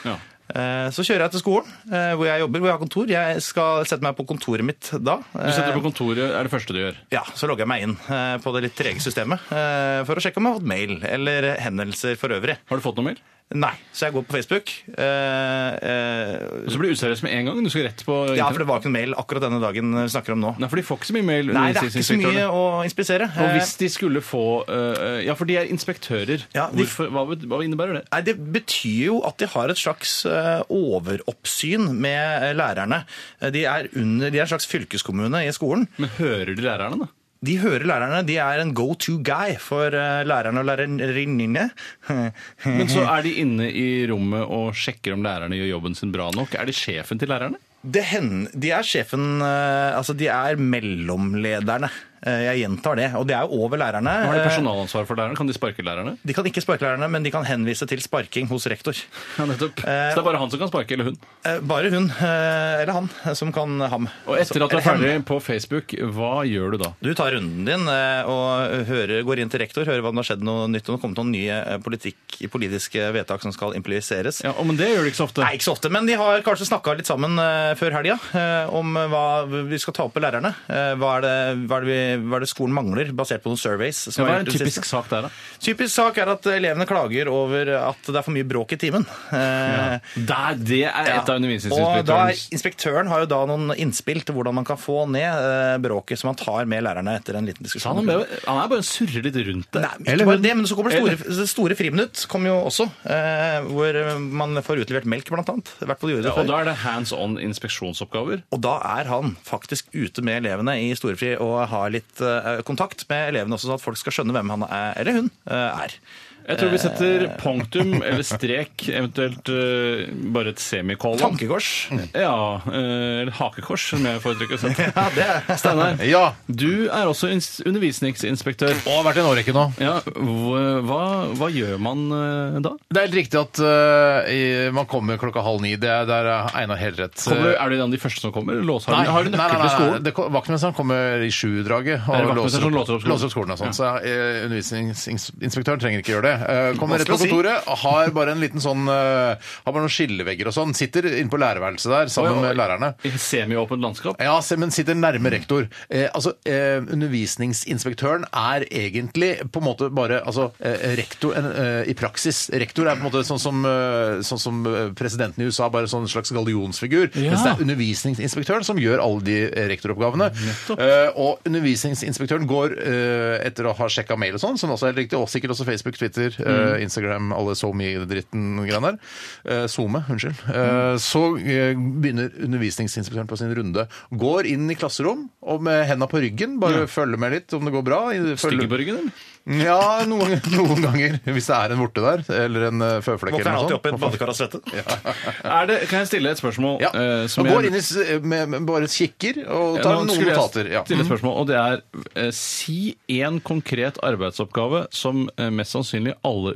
Ja. Eh, Så kjører jeg til skolen, eh, hvor jeg jobber, hvor jeg har kontor. Jeg skal sette meg på kontoret mitt da. Du setter Eh, deg på kontoret, er det første du gjør. ja, så logger jeg meg inn eh, på det litt trege systemet eh, for å sjekke om jeg har fått mail eller hendelser for øvrig. Har du fått noe mer? Nei, så jeg går på Facebook. eh, eh, Så blir du useriøs med en gang. Du skal rett på ja, for det var ikke noen mail akkurat denne dagen vi snakker om nå. Nei, for de får ikke så mye mail. Nei, det er ikke så mye undervisningsinspektørene. å inspisere. Og hvis de skulle få eh, Ja, for de er inspektører. Ja, de- Hvorfor, hva, bet- hva innebærer det? Nei, Det betyr jo at de har et slags eh, overoppsyn med eh, lærerne. Eh, De er, under, de er en slags fylkeskommune i skolen. Men hører de lærerne, da? De hører lærerne. De er en go-to-guy for eh, lærerne og lærerinnene. Men så er de inne i rommet og sjekker om lærerne gjør jobben sin bra nok. Er de sjefen til lærerne? Det hender, de er sjefen eh, Altså, de er mellomlederne. Eh, Jeg gjentar det. Og de er jo over lærerne. Har de Eh, personalansvar for lærerne? Kan de sparke lærerne? De kan ikke sparke lærerne, men de kan henvise til sparking hos rektor. Ja, nettopp. Eh, Så det er bare han som kan sparke, eller hun. Eh, Bare hun, eh, eller han, eh, som kan ham. Og etter at du Eller er hen. ferdig på Facebook, hva gjør du da? Du tar runden din eh, og hører, går inn til rektor, hører hva som har skjedd noe nytt, og det har kommet noen nye eh, politikk, politiske vedtak som skal impliseres. Ja, Men det gjør du ikke så ofte. Nei, ikke så ofte, men de har kanskje snakka litt sammen eh, før helga eh, om hva vi skal ta opp med lærerne. Eh, hva, er det, hva, er det vi, hva er det skolen mangler, basert på noen surveys? som Ja, hva er er en gjort i det typisk siste? sak der, da? typisk sak er at elevene klager over at det er for mye bråk i timen. Eh, Der, det er ja. et av Og da er, undervisningsinspektørens inspektøren har jo da noen innspill til hvordan man kan få ned eh, bråket som han tar med lærerne etter en liten Så diskusjon. han, er bare- han er bare surrer litt rundt det. Nei, men ikke bare det, men så kommer det store, det store friminutt, kom jo også, eh, hvor man får utlevert melk, blant annet. I hvert fall gjorde det Ja, før. og da er det hands on inspeksjonsoppgaver. Og da er han faktisk ute med elevene i storefri og har litt eh, kontakt med elevene også, sånn at folk skal skjønne hvem han er, eller hun eh, er. Jeg tror vi setter punktum eller strek, eventuelt eh, bare et semikolon. Tankekors. Mm. Ja, eh, eller hakekors, som jeg foretrekker å sette. Ja, det er Steinar, Ja. du er også ins- undervisningsinspektør. Det har vært en årrekke nå. Ja, hva, hva- hva gjør man eh, da? Det er helt riktig at eh, i- man kommer klokka halv ni. Det er der er Einar helt rett. Kommer, er du en av de første som kommer? eller Låser du, har du nøkkel til skolen? Det kom- Vaktmesteren kommer i sju-draget. Er det Og vaktmesteren låser, som låser opp skolen? låser opp skolen og sånn. Så eh, undervisningsinspektøren trenger ikke gjøre det. Eh, Kommer rett på Vanskelig å si. kontoret, har bare en liten sånn eh, Har bare noen skillevegger og sånn. Sitter inne på lærerværelset der sammen med lærerne. I semiåpent landskap? Ja, se, men sitter nærme rektor. Eh, altså, eh, undervisningsinspektøren er egentlig på en måte bare altså, eh, rektor en, eh, i praksis. Rektor er på en måte sånn som, eh, sånn som eh, presidenten i USA, bare sånn en slags gallionsfigur. Mens det er undervisningsinspektøren som gjør alle de eh, rektoroppgavene. Eh, og undervisningsinspektøren går eh, etter å ha sjekka mail og sånn, som også er helt riktig, og sikkert også Facebook, Twitter, eh, Mm. Instagram, alle SoMe-dritten og greiene der. Eh, SoMe, unnskyld. Eh, så eh, begynner undervisningsinspektøren på sin runde. Går inn i klasserom og med henda på ryggen, bare følger med litt om det går bra. i- følger- Styggebørgen, eller? Ja, noen, noen ganger. Hvis det er en vorte der, eller en eh, føflekk Hvorfor er han alltid eller noe oppe i et sånt. badekar og svette? Er det, kan jeg stille et spørsmål? Ja. eh, som og går jeg- inn i, s- med, med bare kikker og Ja, tar nå noen skulle jeg notater. Ja. Mm. stille et spørsmål, og det er eh, Si én konkret arbeidsoppgave som eh, mest sannsynlig alle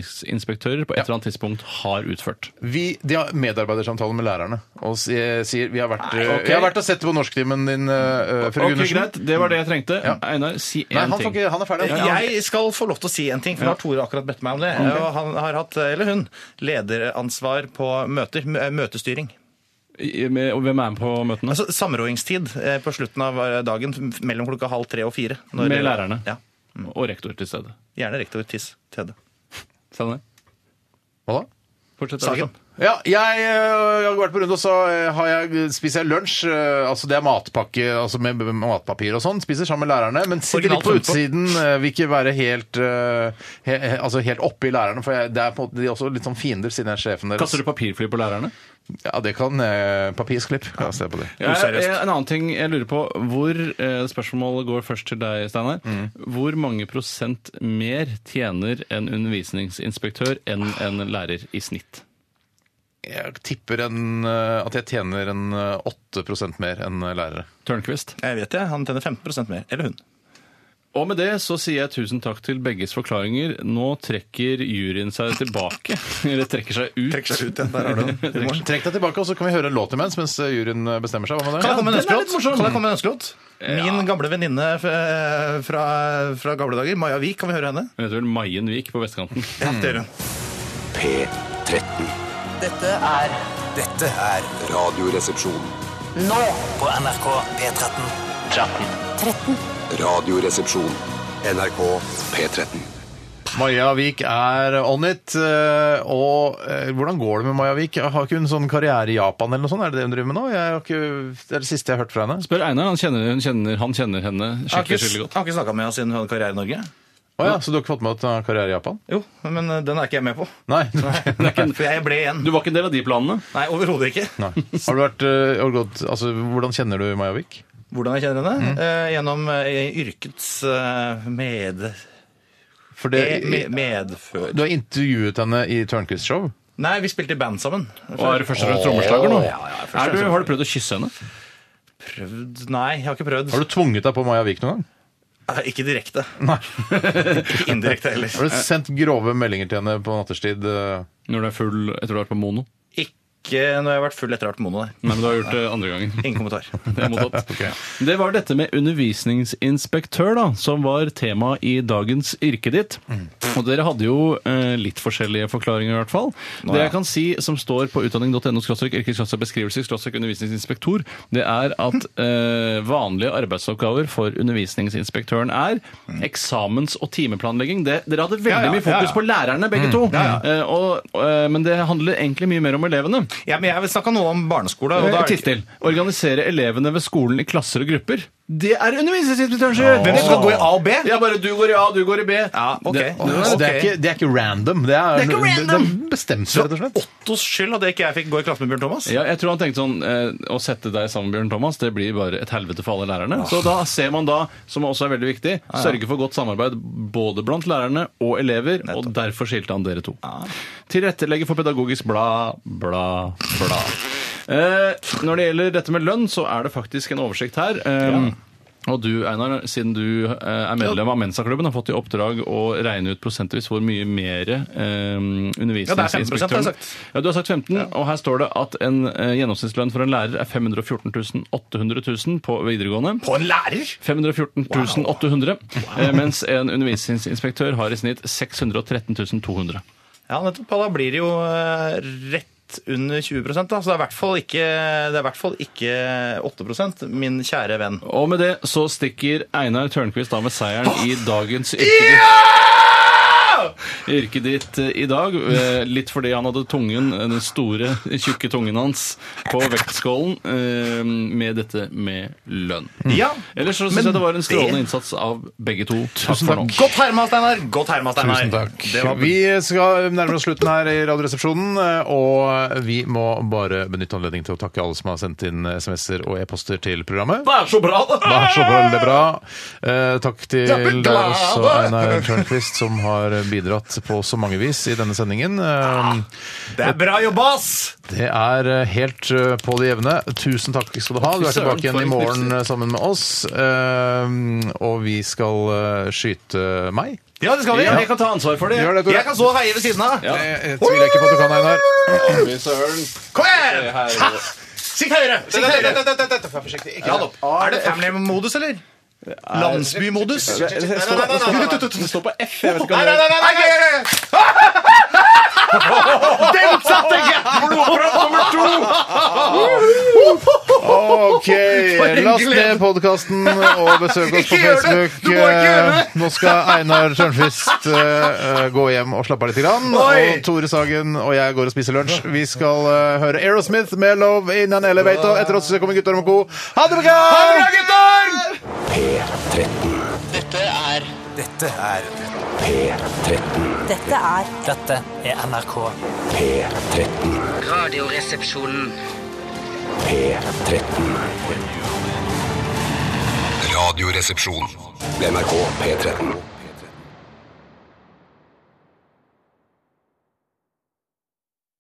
undervisningsinspektører på et eller annet tidspunkt har utført. Vi, de har medarbeidersamtale med lærerne og si- sier vi har vært, Nei, ok. jeg har vært og sett på norsktimen din, eh, fru Ok, Gundersen. greit. Det var det jeg trengte. Einar, si Nei, én han, får ting. ikke, han er ferdig. han. Jeg skal få lov til å si en ting, for nå har Tore akkurat bedt meg om det. Og han har hatt, eller hun, lederansvar på møter. mø- Møtestyring. I- med- og Hvem er med på møtene? Altså samrådingstid eh, på slutten av eh, dagen f- mellom klokka halv tre og fire. når- Med lærerne. Ja. og rektor til stede. Gjerne rektor Tiss Tede. Sa han det? Hva da? Fortsett. Sagen. Ja, jeg, øh, har vært på runde, og så øh, har jeg, spiser jeg lunsj. øh, Altså det er matpakke altså med med matpapir og sånn. Spiser sammen med lærerne, men sitter litt Originalt på funnet på. utsiden. øh, Vil ikke være helt, øh, he, he, altså helt oppe i lærerne, for jeg, det er på en måte, de er også litt sånn fiender siden jeg er sjefen deres. Kaster du papirfly på lærerne? Ja, det kan øh, Papisklipp. Ja, se på det. Jeg, jeg, en annen ting jeg lurer på. Hvor, eh, spørsmålet går først til deg, Steinar. Hvor mange prosent mer tjener en undervisningsinspektør enn en lærer i snitt? Jeg tipper en, øh, at jeg tjener en øh, 8 mer enn lærere. Tørnquist. Jeg vet det, han tjener 15 mer. Eller hun. Og med det så sier jeg tusen takk til begges forklaringer. Nå trekker juryen seg tilbake. Eller trekker seg ut. Trekk deg tilbake, og så kan vi høre en låt imens, mens eh, juryen bestemmer seg. Hva med Kan jeg det? komme med en den er litt ønskelåt? morsom. Kan jeg komme med en ønskelåt? Min gamle venninne f- eh, fra, fra gamle dager, Maja Vik, kan vi høre henne? Hun heter vel Maien Vik på vestkanten. Ja, det gjør hun. P13. Dette er Dette er Radioresepsjon. nå på NRK P13. Radioresepsjon. NRK P13. Maja Vik er on it. eh, Og eh, hvordan går det med Maja Vik? Har ikke hun sånn karriere i Japan eller noe sånt? Er det det hun driver med nå? Jeg har ikke, det er det siste jeg har hørt fra henne. Spør Einar. Han kjenner, hun kjenner, han kjenner henne Jeg har skikkelig, skikkelig ikke, godt. har ikke snakka med henne siden hun hadde karriere i Norge. Å ja, så du har ikke fått med at hun har karriere i Japan? Jo, men eh, den er ikke jeg med på. Nei. For jeg ble igjen. Du var ikke en del av de planene? Nei, overhodet ikke. Nei. Har du vært, eh, har du gått, altså, hvordan kjenner du Maja Vik? Hvordan jeg kjenner henne? Hmm. Eh, gjennom eh, yrkets eh, med, For Eh, e, det, me, medfør... du har intervjuet henne i Tørnquist show. Nei, vi spilte i band sammen. Og er du først og fremst trommeslager nå? Ja, ja, jeg er først og er du, fremst har du prøvd å kysse henne? Prøvd Nei, jeg har ikke prøvd. Har du tvunget deg på Maja Vik noen gang? Eh, Ikke direkte. ikke indirekte heller. Har du sendt grove meldinger til henne på natterstid? eh? Når du er full etter du har vært på mono? Ikke når jeg har vært full etter å ha vært mono. nei. Nei, men du har gjort det andre gangen. Ingen kommentar. Det er mottatt. Det var dette med undervisningsinspektør, da, som var tema i dagens yrke ditt. Og dere hadde jo eh, litt forskjellige forklaringer, i hvert fall. Det jeg kan si som står på utdanning.no yrkesbeskrivelse undervisningsinspektor, det er at eh, vanlige arbeidsoppgaver for undervisningsinspektøren er eksamens- og timeplanlegging. Det, dere hadde veldig mye fokus på lærerne, begge to. Eh, og, eh, men det handler egentlig mye mer om elevene. Ja, men jeg vil snakke noe om barneskole. Og da Eh, er det Titt ikke... til. Organisere elevene ved skolen i klasser og grupper. Det er undervisningsinspektøren! Hvem skal gå i A og B? Ja, bare du går i A, du går i B. Ja, ok. Det- Altså, det, er Ok. ikke, det er ikke random. Det er, Det er ikke random! det er bestemt, rett og slett. Ottos skyld at ikke jeg fikk gå i klasse med Bjørn Thomas. Ja, jeg tror han tenkte sånn eh, Å sette deg sammen med Bjørn Thomas, det blir bare et helvete for alle lærerne. Så da ser man da, som også er veldig viktig, sørge for godt samarbeid både blant lærerne og elever, og derfor skilte han dere to. Tilrettelegge for pedagogisk bla, bla, bla. Eh, når det gjelder dette med lønn, så er det faktisk en oversikt her. Eh, Og du, Einar, siden du eh, er medlem av Mensa-klubben, har fått i oppdrag å regne ut prosentvis hvor mye mer eh, Ja, det er 15%, har jeg undervisningsinspektøren sagt. Ja, du har sagt 15, og her står det at en eh, gjennomsnittslønn for en lærer er 514 800 000 på videregående. På en lærer! 514 800, eh, mens en undervisningsinspektør har i snitt 613 200. Ja, nettopp. Og Da blir det jo eh, rett under 20 da. Så det er i hvert fall ikke, det er i hvert fall ikke 8 min kjære venn. Og med det så stikker Einar Tørnquist av med seieren i dagens yrke. ditt. I Yrket ditt eh, i dag, eh, litt fordi han hadde tungen, eh, den store, tjukke tungen hans, på vektskålen eh, med dette med lønn. Ja, Ellers så men syns jeg det var en strålende det- innsats av begge to. Takk for nå. Godt herma, Steinar! Godt herma, Steinar. Tusen takk. Det var Vi skal nærme oss slutten her i Radioresepsjonen, og vi må bare benytte anledningen til å takke alle som har sendt inn SMS-er og e-poster til programmet. Det er så bra, da! Det er så veldig bra. Eh, takk til Jeg blir deg glad. også, Einar Tørnquist, som har bidratt på så mange vis i denne sendingen. Eh, Det er bra jobba, ass! Det er eh, helt eh, på det jevne. Tusen takk skal du ha. Du er Søren, tilbake igjen for i en morgen eh, sammen med oss, eh, og vi skal eh, skyte meg. Ja, det skal vi. Jeg kan ta ansvar for det. Gjør det, Tore. Jeg kan så heie ved siden av. Jeg, jeg eh, tviler ikke på at du kan, Einar. Kom igjen! Ha! Sikt høyere! Sikt høyere! Ja, da. Er det family-modus, eller? Landsbymodus? Nei, nei, nei, nei, nei. Det står på F. Jeg vet ikke Nei, om nei, det nei, nei, nei, nei, nei. Den satt jeg! Blodpropp nummer to! Ok, en last glede. ned podkasten og besøk oss på Ikke gjør det! Facebook. Du må ikke gjøre det! Eh, Nå skal Einar Tørnquist eh, eh, gå hjem og slappe av litt. Grann. Oi! Og Tore Sagen og jeg går og spiser lunsj. Vi skal eh, høre Aerosmith med 'Love in an Elevator'. Etter oss kommer Guttorm og co. Ha det bra! Dette er Dette er NRK. Radioresepsjonen. Radioresepsjon. NRK P13.